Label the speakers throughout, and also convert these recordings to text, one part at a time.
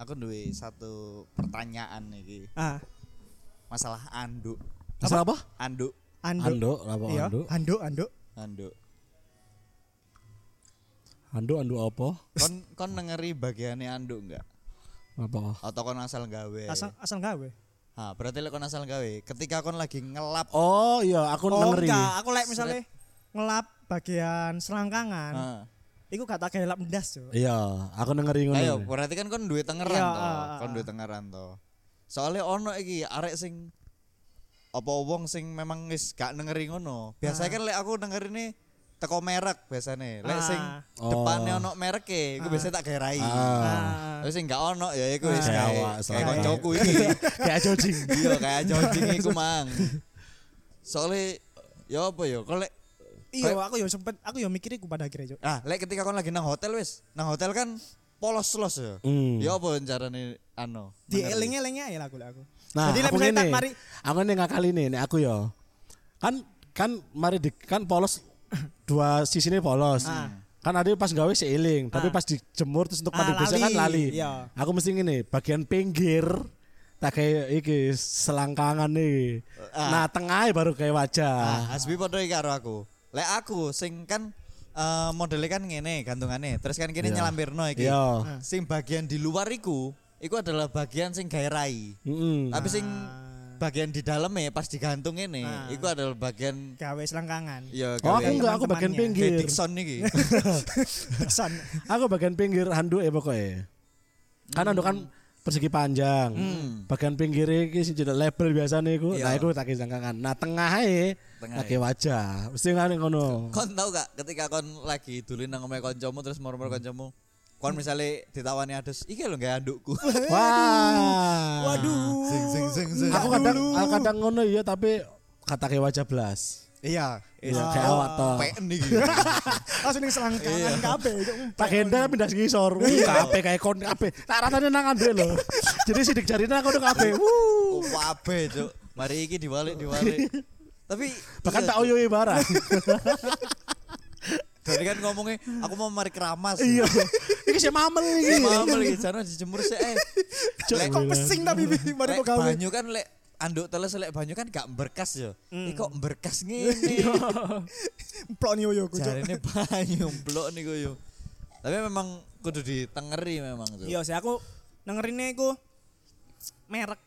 Speaker 1: aku duwe satu pertanyaan iki.
Speaker 2: Ah,
Speaker 1: Masalah anduk.
Speaker 3: Masalah apa?
Speaker 1: Anduk,
Speaker 2: anduk.
Speaker 3: Anduk, apa
Speaker 2: Iya,
Speaker 3: anduk?
Speaker 2: anduk, anduk.
Speaker 1: anduk.
Speaker 3: Anduk, anduk apa?
Speaker 1: Kon kon nengeri bagiannya anduk enggak?
Speaker 3: Apa?
Speaker 1: Atau kon asal gawe?
Speaker 2: Asal asal gawe.
Speaker 1: Ha, berarti lek kon asal gawe. Ketika kon lagi ngelap,
Speaker 3: Oh iya, aku
Speaker 2: Oh,
Speaker 3: nengeri.
Speaker 2: enggak, aku lek misalnya ngelap bagian selangkangan,
Speaker 1: ha.
Speaker 2: iku gak tak kayak lap ndas, Cuk.
Speaker 3: Ah. Iya, aku nengeri ngono.
Speaker 1: Ayo, berarti kan kon duwe tengeran
Speaker 2: Iya,
Speaker 1: to.
Speaker 2: ah, ah,
Speaker 1: Kon
Speaker 2: ah.
Speaker 1: duwe tengeran to. Soale ono iki arek sing apa wong sing memang wis gak nengeri ngono. Biasanya kan lek aku nengerine teko merek biasane. Lek
Speaker 2: Ah.
Speaker 1: sing
Speaker 3: Oh.
Speaker 1: depane ono mereke, iku biasanya tak gerai.
Speaker 2: Ah.
Speaker 1: Terus sing gak ono ya iku wis kae.
Speaker 3: Ah. Kayak awak,
Speaker 1: Kayak
Speaker 3: kayak
Speaker 1: koncoku iki.
Speaker 3: Kayak jojing.
Speaker 1: Iya, kayak jojing iku mang. Soale ya apa ya? Kok lek
Speaker 2: Iya, aku yo sempet, aku yo mikir iku pada akhirnya, Cuk.
Speaker 1: ah lek ketika kon lagi nang hotel wis, nang hotel kan polos-los ya.
Speaker 3: Hmm.
Speaker 1: Ya apa carane ano? nengeri?
Speaker 2: Dieling-elingnya ya lagu aku.
Speaker 3: Nah,
Speaker 2: Jadi lek
Speaker 3: aku
Speaker 2: misalnya
Speaker 3: ngene.
Speaker 2: tak mari
Speaker 3: Aku ngene ngakali nih, nek aku ya. Kan kan mari di kan polos dua sisine polos.
Speaker 2: Ah.
Speaker 3: Kan ada pas gawe seiling,
Speaker 2: Ah.
Speaker 3: tapi pas dijemur terus untuk
Speaker 2: Ah,
Speaker 3: mandi besok kan
Speaker 2: lali.
Speaker 3: lali.
Speaker 2: Iya.
Speaker 3: Aku mesti ngene, bagian pinggir tak kayak iki selangkangan nih.
Speaker 2: Ah.
Speaker 3: Nah, tengahnya baru kayak wajah.
Speaker 1: Ah, Hasbi padha iki karo aku. Lek aku sing kan eh modelnya kan ngene gantungane, terus kan kene
Speaker 3: Iya.
Speaker 1: nyelampirno iki.
Speaker 3: Iya.
Speaker 1: Sing bagian di luar iku, iku adalah bagian sing gawe rai.
Speaker 3: Mm-mm.
Speaker 1: Tapi sing bagian di dalamnya pas digantung ini,
Speaker 2: Ah.
Speaker 1: iku adalah bagian
Speaker 2: gawe selangkangan.
Speaker 1: ya
Speaker 3: Oh, aku enggak, aku
Speaker 2: teman-temannya.
Speaker 3: bagian pinggir.
Speaker 1: Dixon iki.
Speaker 2: Pesan.
Speaker 3: Aku bagian pinggir handuk ya pokoknya. Kan handuk kan
Speaker 1: Hmm.
Speaker 3: persegi panjang. Bagian pinggirnya iki sing jeneng label biasane iku.
Speaker 1: Iya.
Speaker 3: Nah, iku tak jangkangan. Nah, tengahnya
Speaker 1: Tengahnya.
Speaker 3: pakai wajah. Mesti ngene ngono.
Speaker 1: kon tau gak ketika kon lagi dulin nang omahe kancamu terus murmur kancamu, kon misalnya ditawani ades, iki lho gawe andukku.
Speaker 3: Wah.
Speaker 2: Waduh.
Speaker 1: Zing, zing, zing, zing.
Speaker 3: Aku kadang aku kadang ngono iya tapi katake wajah belas.
Speaker 1: Iya, gitu.
Speaker 3: Iya, kayak awak to.
Speaker 1: PN iki.
Speaker 2: Langsung ning selangkangan kabeh, Cuk.
Speaker 1: Iya,
Speaker 3: Tak gendeng pindah ngisor. Wih, kabeh kayak kon kabeh. Tak rasane nang ande lho. Jadi sidik jarine aku tuh kabeh. Wuh.
Speaker 1: Wabe Oh, cuk. Mari iki diwalik diwalik. Tapi
Speaker 3: Bahkan
Speaker 1: iya,
Speaker 3: tak
Speaker 1: Cuk.
Speaker 3: oyoi barang.
Speaker 1: Tadi kan ngomongnya aku mau mari keramas.
Speaker 3: Iya. Iki sih mamel iki.
Speaker 1: Mamel iki jarno dijemur sik eh.
Speaker 3: Cuk,
Speaker 1: Lek-
Speaker 2: Kok pesing tapi Bi? mari
Speaker 1: lek
Speaker 2: kok gawe.
Speaker 1: banyu kan lek anduk teles lek banyu kan gak berkas ya. Iki
Speaker 3: Hmm.
Speaker 1: kok berkas
Speaker 3: Iya.
Speaker 1: ngene.
Speaker 2: Plok nih yo kudu.
Speaker 1: Jarene banyu blok niku yo. Tapi memang kudu ditengeri memang tuh.
Speaker 2: Iya, sih aku dengerinnya iku merek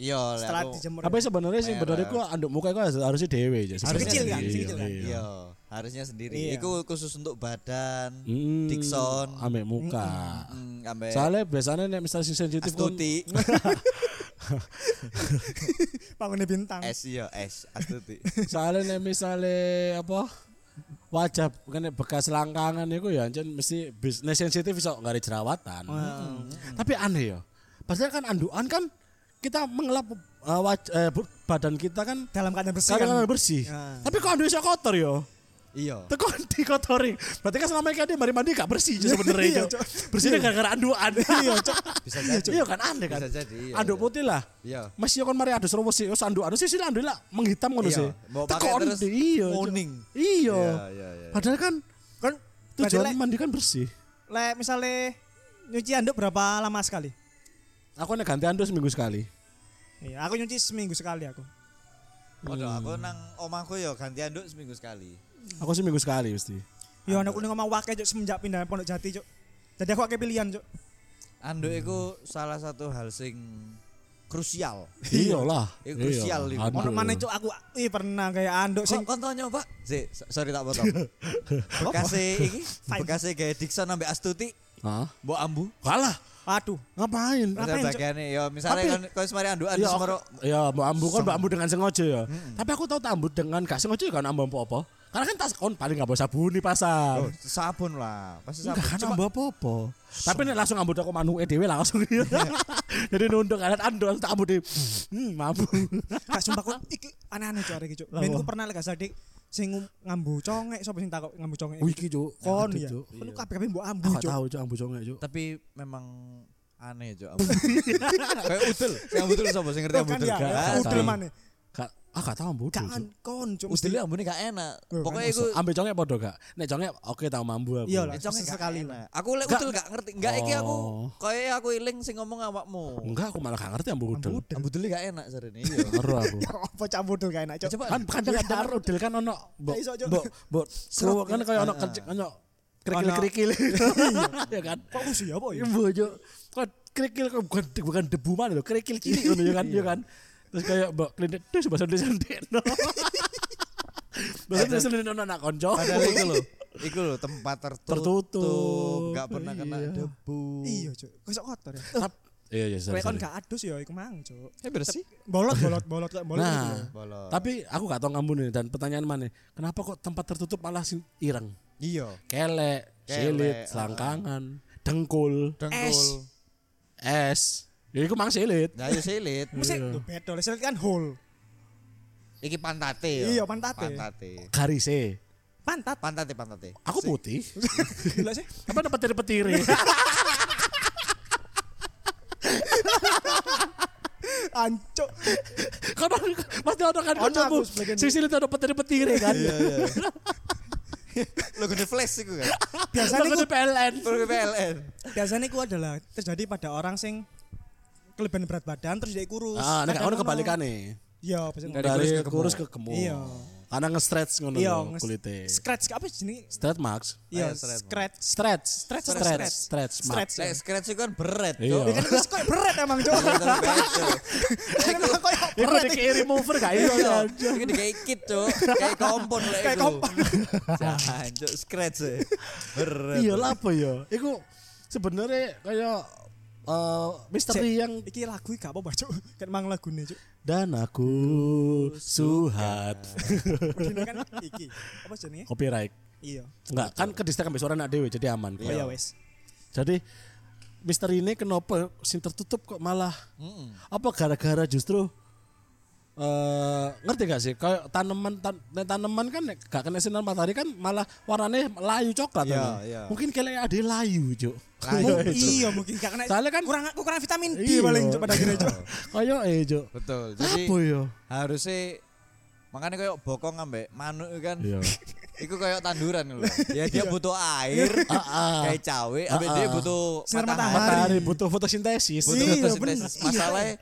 Speaker 1: Iya, lek
Speaker 2: setelah
Speaker 1: aku-
Speaker 2: dijemur.
Speaker 3: Tapi sebenarnya sih benar iku anduk muka iku harusnya dhewe aja.
Speaker 1: harusnya
Speaker 2: kecil kan,
Speaker 1: sendiri.
Speaker 2: sing kecil kan.
Speaker 3: Iya.
Speaker 1: Iya, harusnya sendiri.
Speaker 2: Iya.
Speaker 1: Iku khusus untuk badan,
Speaker 3: Hmm,
Speaker 1: Dixon,
Speaker 3: ambek muka.
Speaker 1: mm, ambek
Speaker 3: Soalnya biasanya nek misalnya sing sensitif kan
Speaker 1: Astuti.
Speaker 2: bangunnya bintang.
Speaker 1: S iya S Astuti.
Speaker 3: soalnya nek misalnya apa wajah kena bekas langkangan itu ya ancen mesti bis- nek sensitif iso nggak ada jerawatan. Mm. Tapi aneh ya. Pastinya kan anduan kan kita mengelap eh, waj- eh, bu- badan kita kan
Speaker 2: Dalam keadaan bersih
Speaker 3: kadang-kadang
Speaker 2: kan.
Speaker 3: bersih.
Speaker 2: Ya.
Speaker 3: Tapi kok andu iso kotor ya?
Speaker 1: Iya.
Speaker 3: Teko dikotori. Berarti kan selama ini dia mari mandi gak bersih Cuk,
Speaker 2: Iya,
Speaker 3: sebenarnya. Cuk.
Speaker 2: Cuk.
Speaker 3: Bersihnya gara-gara anduan. Iya, Cuk.
Speaker 1: Bisa
Speaker 3: Iya,
Speaker 1: jadi.
Speaker 3: Cuk. Iya kan aneh kan.
Speaker 1: Bisa jadi, iya,
Speaker 3: Anduk
Speaker 1: iya.
Speaker 3: putih lah.
Speaker 1: Iya.
Speaker 3: Mas yo kon mari adus romo sih, wis anduk sih sih anduk lah menghitam ngono
Speaker 1: Iya,
Speaker 3: sih.
Speaker 1: mau
Speaker 3: Teko
Speaker 1: pakai terus
Speaker 3: andu, iya. Cuk.
Speaker 1: kuning.
Speaker 3: Iya.
Speaker 1: Iya, iya, iya.
Speaker 3: Padahal kan
Speaker 2: Kan
Speaker 3: tujuan
Speaker 2: tujuan
Speaker 3: mandi kan bersih.
Speaker 2: lek misalnya nyuci anduk berapa lama sekali?
Speaker 3: Aku nek ganti anduk seminggu sekali.
Speaker 2: Iya, aku nyuci seminggu sekali aku.
Speaker 1: Waduh, aku nang omahku yo ganti anduk seminggu sekali.
Speaker 3: Aku seminggu sekali mesti.
Speaker 2: Yo anak kuning ngomong wakai cuk semenjak pindah Pondok Jati cuk. Jadi aku akeh pilihan cuk.
Speaker 1: Anduk iku salah satu hal sing krusial.
Speaker 3: Iyalah.
Speaker 1: Iya, krusial
Speaker 3: Iya,
Speaker 1: itu.
Speaker 3: anduk.
Speaker 2: Ono mana cuk aku ih pernah kayak anduk
Speaker 1: Sing
Speaker 2: sing
Speaker 1: kon tau nyoba? Si, so- sorry tak potong. Bekase iki, bekase gawe Dixon ambek Astuti,
Speaker 3: Hah?
Speaker 1: mbok ambu.
Speaker 3: Kalah.
Speaker 2: waduh.
Speaker 3: Ngapain?
Speaker 2: Ngapain,
Speaker 1: Ada
Speaker 2: Cuk? Iya,
Speaker 1: bagiane yo misalnya
Speaker 3: Tapi-
Speaker 1: kon kon wis mari andukan
Speaker 3: Ya,
Speaker 1: terus maro
Speaker 3: ya Mbak Ambu kan Mbak Ambu dengan sengaja ya.
Speaker 2: Hmm,
Speaker 3: Tapi aku tahu tak Ambu dengan gak sengaja kan Ambu Ambu apa? Karena kan tas kon paling gak bawa sabun di
Speaker 2: Oh,
Speaker 3: pasar.
Speaker 1: Oh, sabun lah. Pasti
Speaker 3: Enggak
Speaker 1: sabun.
Speaker 3: kan
Speaker 1: Cuma
Speaker 3: Ambu apa-apa. Tapi nek langsung Ambu toko manuke dhewe langsung. Jadi nunduk alat ando langsung tak Ambu dhewe. Hmm, mampu.
Speaker 2: Gak sumpah aku iki aneh-aneh cuk arek iki cuk.
Speaker 3: Lah,
Speaker 2: Ben
Speaker 3: apa?
Speaker 2: ku pernah lek gak sadik sing ngum- ngambu congek sapa sing takok ngambu congek.
Speaker 3: Wih, iki cuk.
Speaker 2: kon
Speaker 3: Ngerti,
Speaker 2: ya.
Speaker 3: Cuk. Iya.
Speaker 2: Kon kabeh-kabeh mbok ambu
Speaker 3: Aku gak
Speaker 2: cuk.
Speaker 3: tahu cuk Ambu congek cuk.
Speaker 1: tapi memang aneh cuk. Kayak udel, sing udel sapa sing ngerti
Speaker 2: Tuh,
Speaker 1: udel?
Speaker 2: Kan ya,
Speaker 3: Gak
Speaker 2: ya,
Speaker 3: tahu.
Speaker 2: udel mana?
Speaker 3: Gak Ah gak tau ambu.
Speaker 2: Gak an- kon cuk.
Speaker 1: Wis
Speaker 3: ya?
Speaker 1: dulu ambune gak enak.
Speaker 2: Loh, kan
Speaker 1: Pokoke iku
Speaker 3: Ambil congek podo gak? Nek congek oke tau mambu aku.
Speaker 2: Iya lah.
Speaker 1: eh, conge gak
Speaker 2: Sesekali
Speaker 1: enak. Aku lek
Speaker 3: Gak-
Speaker 1: udel gak ngerti. Enggak iki aku
Speaker 3: Oh.
Speaker 1: koyo aku iling sing ngomong awakmu.
Speaker 3: Enggak aku malah gak ngerti ambu udel.
Speaker 1: Ambu dulu gak enak jarene. Iya.
Speaker 3: Ngeru aku.
Speaker 2: Apa cak bodol gak enak cuk.
Speaker 1: Coba
Speaker 3: Kan kadang-kadang kan udel kan ono mbok
Speaker 2: Gak iso, Cuk.
Speaker 3: mbok mbok
Speaker 1: Serut.
Speaker 3: kan kayak ono
Speaker 1: Ah.
Speaker 3: kercik ono kerikil-kerikil. Ya kan.
Speaker 2: Fokus ya apa ya?
Speaker 3: Iya, bojo. Kok kerikil kok bukan bukan debu mana lho, kerikil cilik ngono ya kan, ya kan. Terus kayak mbok klinik terus bahasa Indonesia ndekno. Bahasa Indonesia ndekno anak konco.
Speaker 1: Padahal iku lho. Iku lho tempat tertutup.
Speaker 3: Tertutup.
Speaker 1: Gak pernah kena
Speaker 3: Iya.
Speaker 1: debu.
Speaker 2: Iya cuk. Kok sok kotor ya?
Speaker 3: Tap- Iya, iya, sorry,
Speaker 2: Lek kon
Speaker 3: sorry.
Speaker 2: gak adus ya iku mang cuk.
Speaker 1: Eh bersih.
Speaker 2: Bolot bolot bolot kayak bolot. gitu ya.
Speaker 3: Nah,
Speaker 1: Bolot.
Speaker 3: tapi aku gak tau ngambun ini dan pertanyaan mana? Kenapa kok tempat tertutup malah sing ireng?
Speaker 1: Iya. Kelek,
Speaker 3: Kelek, silit,
Speaker 1: ah.
Speaker 3: selangkangan, dengkul,
Speaker 1: Dengkul.
Speaker 3: es. Ya iku mang silit.
Speaker 1: Nah, ayo silit.
Speaker 2: Mesti lho beda. Lek silet kan hole.
Speaker 1: Iki pantate yo.
Speaker 2: Iya, pantate.
Speaker 1: Pantate.
Speaker 3: Garise.
Speaker 2: Pantat.
Speaker 1: Pantate pantate.
Speaker 3: Aku putih.
Speaker 2: Gila sih.
Speaker 3: Apa ada petiri-petiri?
Speaker 2: Ancuk.
Speaker 3: Karena pasti ada kan
Speaker 2: Ono
Speaker 3: kancamu.
Speaker 2: aku sebagian.
Speaker 3: Sing silit ada petiri-petiri kan.
Speaker 1: Lo gede flash iku kan.
Speaker 2: Biasanya
Speaker 3: Lagu
Speaker 2: ku
Speaker 3: di PLN.
Speaker 1: Perlu PLN.
Speaker 2: biasanya ku adalah terjadi pada orang sing kelebihan berat badan terus dia kurus.
Speaker 3: Ah, nek
Speaker 2: Kadang
Speaker 3: ono
Speaker 2: ono-
Speaker 3: kebalikannya.
Speaker 2: Iya, biasanya
Speaker 1: Dari kurus ke
Speaker 3: Dari
Speaker 1: gemuk.
Speaker 3: kurus ke gemuk.
Speaker 2: Iya.
Speaker 3: Karena nge-stretch ngono
Speaker 2: Iya,
Speaker 3: lho
Speaker 2: nge-
Speaker 3: kulite.
Speaker 2: Scratch apa jenis?
Speaker 3: Stretch marks.
Speaker 2: Iya,
Speaker 1: Ayo, stretch.
Speaker 2: scratch.
Speaker 3: Stretch, stretch, stretch, stretch,
Speaker 2: Stretch.
Speaker 1: Lek scratch iku kan beret.
Speaker 3: Iya.
Speaker 2: Ya kan wis kok berat emang, Cuk. Kan kok ya
Speaker 3: Iku
Speaker 2: berat.
Speaker 3: dikei remover gak iya kan?
Speaker 1: Ini kayak kit cok, kayak kompon lah
Speaker 2: Kayak
Speaker 1: itu.
Speaker 2: kompak.
Speaker 1: Jangan cok, scratch ya. Beret.
Speaker 3: Iya lah apa ya? Iku sebenarnya kayak eh, misteri yang
Speaker 2: Iki lagu iki gak apa-apa, Cuk. Kan mang lagune, Cuk.
Speaker 3: dan aku suhat
Speaker 2: Begini kan iki. Apa jenenge?
Speaker 3: copyright
Speaker 2: Iya.
Speaker 3: enggak kan ke distract ambil suara anak dewe jadi aman
Speaker 1: Iya.
Speaker 3: iya,
Speaker 2: Oh ya wes.
Speaker 3: jadi misteri ini kenapa sing tertutup kok malah apa gara-gara justru eh ngerti gak sih kayak tanaman tan nek tanaman kan nek gak kena sinar matahari kan malah warnanya layu coklat
Speaker 1: Iya,
Speaker 3: kan.
Speaker 1: iya.
Speaker 3: mungkin kalian ada yang layu cuk
Speaker 1: Layu,
Speaker 3: Kayak itu.
Speaker 2: Iya mungkin gak kena.
Speaker 3: Soalnya kan-
Speaker 2: kurang kurang vitamin D
Speaker 3: Iya.
Speaker 2: paling Cuk pada akhirnya, Cuk.
Speaker 3: kayak eh cuk
Speaker 1: Betul. Jadi
Speaker 3: apa ya
Speaker 1: harusnya makanya kayak bokong ambek manuk kan.
Speaker 3: iya
Speaker 1: Iku kayak tanduran loh. Ya dia butuh air,
Speaker 3: Ah, ah.
Speaker 1: kayak cawe, ambek dia butuh
Speaker 2: Sinar
Speaker 1: matahari.
Speaker 3: matahari butuh fotosintesis
Speaker 1: Butuh
Speaker 2: Iya, bener.
Speaker 1: fotosintesis. Masalahnya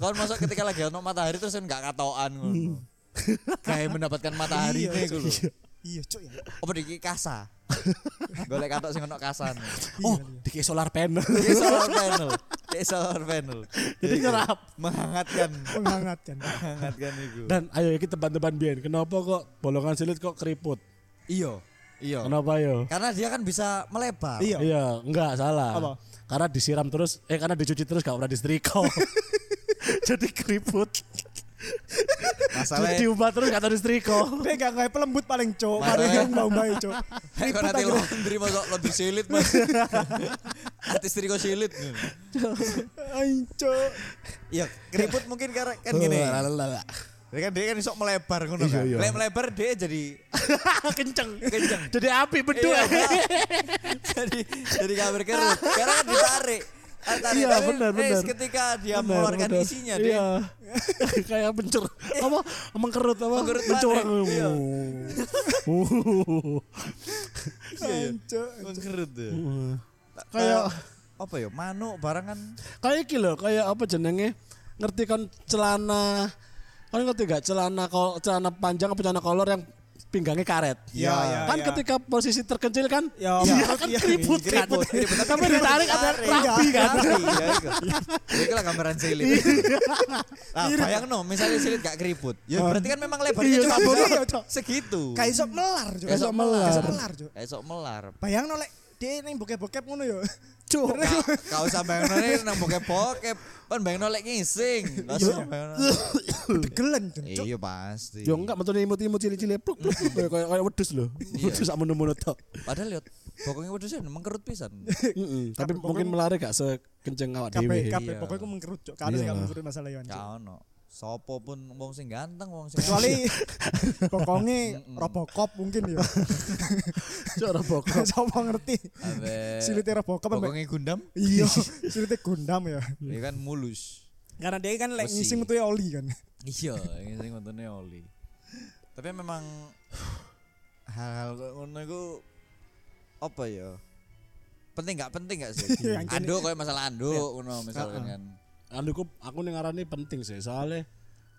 Speaker 1: kon masuk ketika lagi ono matahari terus kan gak katoan ngono. Kayak mendapatkan matahari
Speaker 2: Iya,
Speaker 1: ini iku lho.
Speaker 2: Iya, Cuk ya.
Speaker 1: Apa dikit kasa? Golek katok sing ono kasan.
Speaker 3: oh dikei solar panel
Speaker 1: Dia solar panel. Dia solar panel.
Speaker 3: Jadi
Speaker 1: Iya,
Speaker 3: nyerap.
Speaker 1: Menghangatkan.
Speaker 2: Menghangatkan.
Speaker 1: Menghangatkan itu.
Speaker 3: dan ayo kita teman-teman biar kenapa kok bolongan silit kok keriput
Speaker 1: Iya. Iya.
Speaker 3: kenapa yo
Speaker 1: Karena dia kan bisa melebar.
Speaker 2: Iya.
Speaker 3: Iya, enggak salah.
Speaker 2: Apa?
Speaker 3: Karena disiram terus, eh karena dicuci terus gak pernah disetrika. Jadi keriput.
Speaker 1: Masalahnya
Speaker 3: Diubah terus gak tau disetrika.
Speaker 2: Dia gak kayak pelembut paling, Cuk. Mari
Speaker 1: Masalahnya-
Speaker 2: mbak-mbak, Cuk.
Speaker 1: Kayak
Speaker 2: Ribut
Speaker 1: nanti
Speaker 2: akhirnya.
Speaker 3: gitu.
Speaker 1: laundry masuk laundry silit mas Artis triko silit
Speaker 2: Anco.
Speaker 1: Iya keriput mungkin karena kan gini
Speaker 3: Lalalala.
Speaker 1: Dia kan dia kan sok melebar ngono
Speaker 3: Oh, Iya,
Speaker 1: kan
Speaker 3: iya.
Speaker 1: Lek melebar dia jadi
Speaker 3: Kenceng.
Speaker 1: kenceng
Speaker 3: Jadi api betul.
Speaker 1: Iya. jadi jadi kabar kerut karena kan ditarik Ah, tarik.
Speaker 3: Iya,
Speaker 1: Tapi
Speaker 3: benar,
Speaker 1: Reis
Speaker 3: benar.
Speaker 1: ketika dia mengeluarkan isinya dia
Speaker 3: Iya. Kayak mencur. Apa? Mengkerut apa?
Speaker 1: Mengkerut
Speaker 3: Mencoreng.
Speaker 1: banget, iya.
Speaker 3: Uh.
Speaker 1: Iya,
Speaker 2: Anco.
Speaker 1: mengkerut ya.
Speaker 3: Iya. Kayak
Speaker 1: apa ya manuk barang kan
Speaker 3: kayak iki lho, kayak apa jenenge? Ngerti kan celana kan ngerti gak celana kol- celana panjang apa celana kolor yang pinggangnya karet.
Speaker 2: Ya, ya,
Speaker 3: kan
Speaker 2: ya.
Speaker 3: ketika posisi terkencil kan
Speaker 2: Ya,
Speaker 3: iya
Speaker 2: maksud-
Speaker 3: kan
Speaker 2: iya,
Speaker 3: keriput kan.
Speaker 1: keriput, keriput.
Speaker 3: Tapi ditarik ada rapi kan. Iya.
Speaker 1: Iya, iku. Ya, iku lah gambaran silit. Nah, bayang no, misalnya silit gak keriput. Ya berarti kan memang lebarnya
Speaker 3: Iya,
Speaker 1: cuma
Speaker 3: iya,
Speaker 1: bisa
Speaker 2: Cok.
Speaker 1: segitu.
Speaker 2: Kayak sok melar, Cuk.
Speaker 1: Kayak sok melar.
Speaker 2: Kayak sok melar, Cuk.
Speaker 1: Kayak sok melar.
Speaker 3: Iya.
Speaker 2: Bayang lek dia ning bokep-bokep ngono yo.
Speaker 3: Cuk.
Speaker 1: Ka- Kau Nah, usah bayang no nih, nang bokep-bokep. Kan bayang no lek ngising. Kau
Speaker 3: Iya.
Speaker 1: usah bayang no.
Speaker 2: Degelen, Cuk.
Speaker 1: Iya pasti.
Speaker 3: Yo enggak metune imut-imut cilik-cilik pluk pluk pluk, kayak kayak wedhus lho. Wedhus sak mono-mono tok.
Speaker 1: Padahal lihat pokoknya udah sih memang kerut pisan.
Speaker 3: Mm-mm, Tapi mungkin melari gak sekenceng awak
Speaker 2: Kabeh
Speaker 3: dhewe.
Speaker 2: kabeh
Speaker 1: Iya.
Speaker 2: pokoke ku mengkerut, Cuk. Kalau sing gak mengkerut masalah yo, Cuk.
Speaker 1: Kau no. Ya, Sopo pun wong sing ganteng, wong sing
Speaker 2: Kecuali Iya. pokoke Robocop mungkin yo.
Speaker 3: Cuk Robocop.
Speaker 2: Sapa ngerti?
Speaker 1: Ambek-
Speaker 3: Eh,
Speaker 2: Silite Robocop ambek
Speaker 1: pokoknya Gundam,
Speaker 2: Iya, silite Gundam ya.
Speaker 1: ya kan mulus.
Speaker 2: Karena dia kan lek
Speaker 1: Besi.
Speaker 2: ngisi metu oli kan.
Speaker 1: Iya, ini sing ngontone oli. Tapi memang hal-hal kayak ngono iku apa ya? Penting gak penting gak sih?
Speaker 2: Iya, anjani.
Speaker 1: anduk kayak masalah anduk ngono misalkan kan.
Speaker 3: Anu ku- aku ning ngarani penting sih soalnya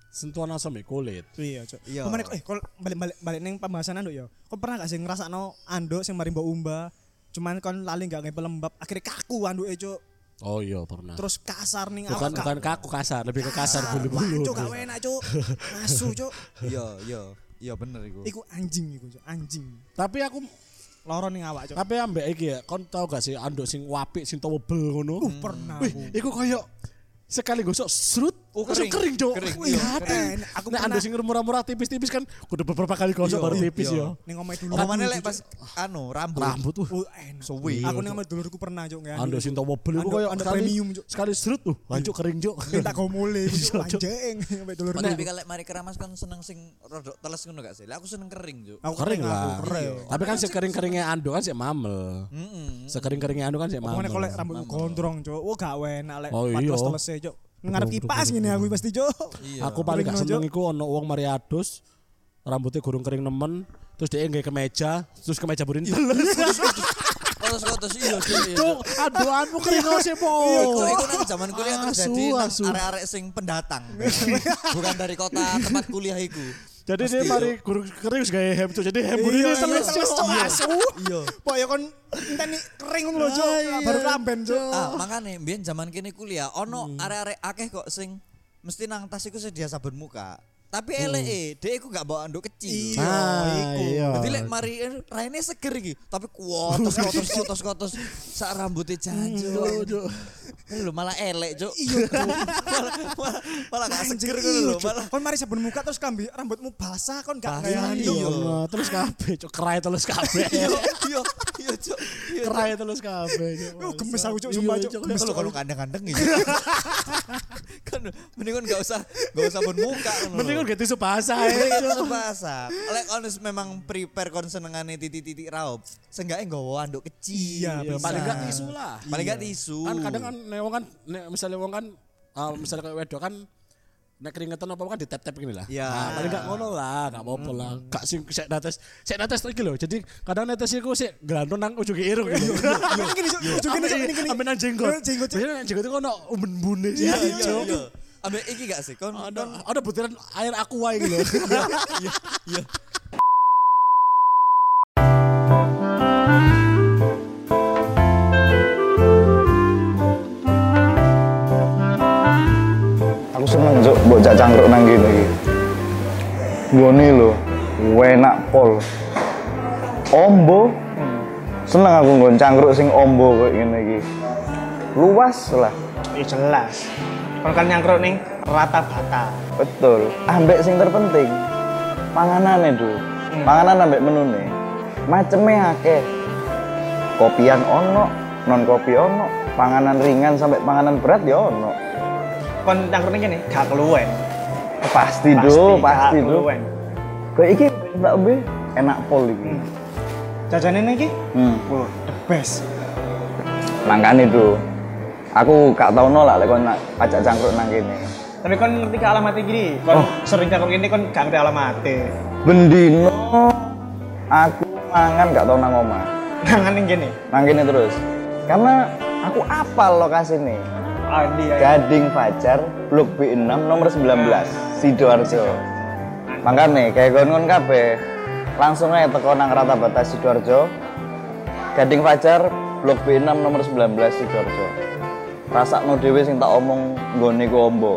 Speaker 3: sentuhan asam ya kulit.
Speaker 2: Iya, Cuk.
Speaker 1: Iya.
Speaker 2: Pemane eh kok balik-balik balik ning pembahasan anduk ya. Kok pernah gak sih ngrasakno anduk sing mari mbok umbah? Cuman kon lali gak ngempe lembab, akhirnya kaku anduke, Cuk.
Speaker 3: Oh iya pernah.
Speaker 2: Terus kasar ning
Speaker 3: bukan
Speaker 2: awak, Kak.
Speaker 3: bukan kaku kasar, lebih ke kasar
Speaker 2: Wah,
Speaker 3: bulu-bulu.
Speaker 2: Cuk, gak enak, Cuk. Asu, Cuk.
Speaker 1: Iya, iya. Iya bener iku.
Speaker 2: Iku anjing iku, Cuk. Anjing.
Speaker 3: Tapi aku
Speaker 2: Loro ning awak, Cuk.
Speaker 3: tapi ambek iki ya, kon tau gak sih anduk sing wapik sing tau bel ngono?
Speaker 2: Uh, pernah.
Speaker 3: Wih,
Speaker 2: aku.
Speaker 3: iku koyo sekali gosok serut,
Speaker 1: Oh, kering.
Speaker 3: langsung kering, Cuk.
Speaker 1: Kering,
Speaker 3: Wih,
Speaker 1: iya,
Speaker 3: apa?
Speaker 2: kering. Aku
Speaker 3: Nek
Speaker 2: pernah-
Speaker 3: anduk sing murah-murah tipis-tipis kan kudu beberapa kali gosok
Speaker 1: Iya,
Speaker 3: baru
Speaker 1: iya,
Speaker 3: tipis
Speaker 1: iya.
Speaker 3: yo.
Speaker 2: Ning omahe dulu.
Speaker 1: Apa mana lek pas anu rambut.
Speaker 3: Rambut tuh.
Speaker 2: Oh, enak.
Speaker 1: Uh, Suwi.
Speaker 2: Aku ning omahe dulurku pernah, Cuk, nggak
Speaker 3: Anduk sing tau bel iku
Speaker 2: Iya. Anduk-
Speaker 3: koyo
Speaker 2: anduk
Speaker 3: sekali
Speaker 2: premium, Iya. Cuk.
Speaker 3: sekali serut tuh, lancuk kering, Cuk.
Speaker 2: minta kau mulai
Speaker 3: Iya, Cuk.
Speaker 2: anjing sampai dulur
Speaker 1: Padahal lebih kalau mari keramas kan seneng sing rodok teles ngono gak sih? Lah aku seneng kering, Cuk.
Speaker 2: aku
Speaker 3: Kering lah.
Speaker 2: kering
Speaker 3: Tapi kan sekering-keringnya anduk kan sih mamel.
Speaker 1: Heeh.
Speaker 3: Sekering-keringnya anduk kan sih
Speaker 2: Pokoknya
Speaker 3: mamel.
Speaker 2: kolek rambut gondrong cok Wah gak enak lek
Speaker 3: Oh, iya.
Speaker 2: teles cok Ngarep kipas gini aku pasti cok
Speaker 1: Iya.
Speaker 3: Aku paling gak
Speaker 2: Kering,
Speaker 3: seneng iku ono wong mariadus rambutnya gurung kering nemen, terus dia nggak kemeja, terus kemeja burin teles.
Speaker 1: Kotos-kotos iya, Cuk. iya, Cuk.
Speaker 3: Cuk, aduhanmu kering Iya. kok sih po.
Speaker 1: Iku iku nang kan zaman kuliah
Speaker 3: Asu,
Speaker 1: terjadi nang
Speaker 3: asu.
Speaker 1: arek-arek sing pendatang. Bukan dari kota tempat kuliah iku.
Speaker 3: Jadi dia mari gurung kering wis gawe hem Cuk. jadi hem burin
Speaker 2: Iya,
Speaker 3: ini
Speaker 2: iya,
Speaker 3: teles
Speaker 2: teles,
Speaker 3: Cuk.
Speaker 2: Cuk, asu.
Speaker 1: Iya.
Speaker 2: Pokoknya kon Ini kering ngono lho cok
Speaker 3: Ah, iya,
Speaker 2: Baru lamben cok
Speaker 1: Ah, makane mbiyen zaman kene kuliah ono arek-arek akeh kok sing mesti nang tas iku sedia sabun muka. Tapi eleke, dhek iku gak bawa anduk kecil.
Speaker 3: Iya, Ah, iku. iya.
Speaker 1: Dadi lek mari eh, raine seger iki, tapi kuotos kotos kotos kotos sak rambute jancuk. Lho malah elek, Cuk. Hmm, Iya. malah, malah, malah gak
Speaker 2: Anjing,
Speaker 1: seger
Speaker 2: iya,
Speaker 1: ngono lho,
Speaker 2: Cuk.
Speaker 1: malah
Speaker 2: Kon mari sabun muka terus kambi rambutmu basah kon gak
Speaker 1: Basah,
Speaker 2: kayak
Speaker 1: iya.
Speaker 3: Iya, Allah. terus kabeh Cuk, kerai teles kabeh.
Speaker 1: iya, iya, iya, Cuk. Iya, Cuk.
Speaker 3: Kerai teles kabeh Cuk. Iya,
Speaker 2: Oh, gemes aku, Cuk, sumpah, Cuk.
Speaker 1: Kan kalau kalau kandang-kandang gitu. kan mendingan gak usah gak usah bon muka ngono lho.
Speaker 3: Mending kan gak tisu basah
Speaker 1: Ini
Speaker 3: ya,
Speaker 1: kan
Speaker 3: Cuk.
Speaker 1: tisu basah. Lek onus memang prepare kon senengane titik-titik raup. Seenggaknya nggawa anduk kecil.
Speaker 2: Iya,
Speaker 1: Bisa.
Speaker 3: Paling gak tisu lah.
Speaker 1: Paling gak tisu. Iya,
Speaker 3: kan kadang kan nek wong kan nek misalnya wong kan ah, misalnya kayak wedok kan nek keringetan apa kan ditep-tep gini lah.
Speaker 1: Iya.
Speaker 3: Nah, paling gak ngono lah, gak apa-apa lah.
Speaker 1: Hmm.
Speaker 3: Gak sing sik netes, sik netes iki lho. Jadi kadang netes iku sik gelantung nang ujung irung gitu.
Speaker 2: Ini gini cok Cuk, gini cok ini gini
Speaker 3: Ambe nang jenggot.
Speaker 2: Eh, Jenggot Cuk.
Speaker 3: Biasanya nang jenggot itu ono umben-bune sih.
Speaker 1: Iya,
Speaker 3: ya,
Speaker 1: iya,
Speaker 3: Cuk.
Speaker 1: iya. Ambek iki gak sih kon?
Speaker 3: Ada
Speaker 1: kon-
Speaker 3: ada butiran air aqua iki lho.
Speaker 1: Iya,
Speaker 4: Aku seneng juk mbok jak cangkruk nang kene iki. Ngene lho, enak pol. Ombo. Seneng aku nggon cangkruk sing ombo koyo ngene iki. Luas lah,
Speaker 5: Ya jelas. Kalau kan nyangkruk nih rata bata.
Speaker 4: betul. Ambek sing terpenting panganane dulu. Panganan ambek menune. Maceme akeh. Kopian ono, non kopi ono, panganan ringan sampai panganan berat ya ono.
Speaker 5: Kon nyangkruk nih gini, gak keluwen.
Speaker 4: Pasti, do,
Speaker 5: gak
Speaker 4: pasti do.
Speaker 5: keluwen.
Speaker 4: Kayak iki mbak Be enak pol iki.
Speaker 5: Jajanan ini,
Speaker 4: Hmm.
Speaker 5: wah the best.
Speaker 4: Mangkane itu aku gak tau nolak lek kon nak ajak cangkruk nang kene.
Speaker 5: Tapi kon ngerti ke alamatnya gini, kon sering nyangkruk ini kon gak ngerti alamatnya.
Speaker 4: Bendino aku mangan gak tau nang omah.
Speaker 5: Nangan nih Nah, gini,
Speaker 4: Nang kene terus. Karena aku apal lokasine.
Speaker 5: ah dia ya.
Speaker 4: Gading Fajar, Blok B6 nomor 19, Sidoarjo. Mangkane kayak kon-kon kabeh langsung aja teko nang rata batas Sidoarjo. Gading Fajar, Blok B6 nomor 19 Sidoarjo. Rasakno dhewe sing tak omong nggone ku ombo.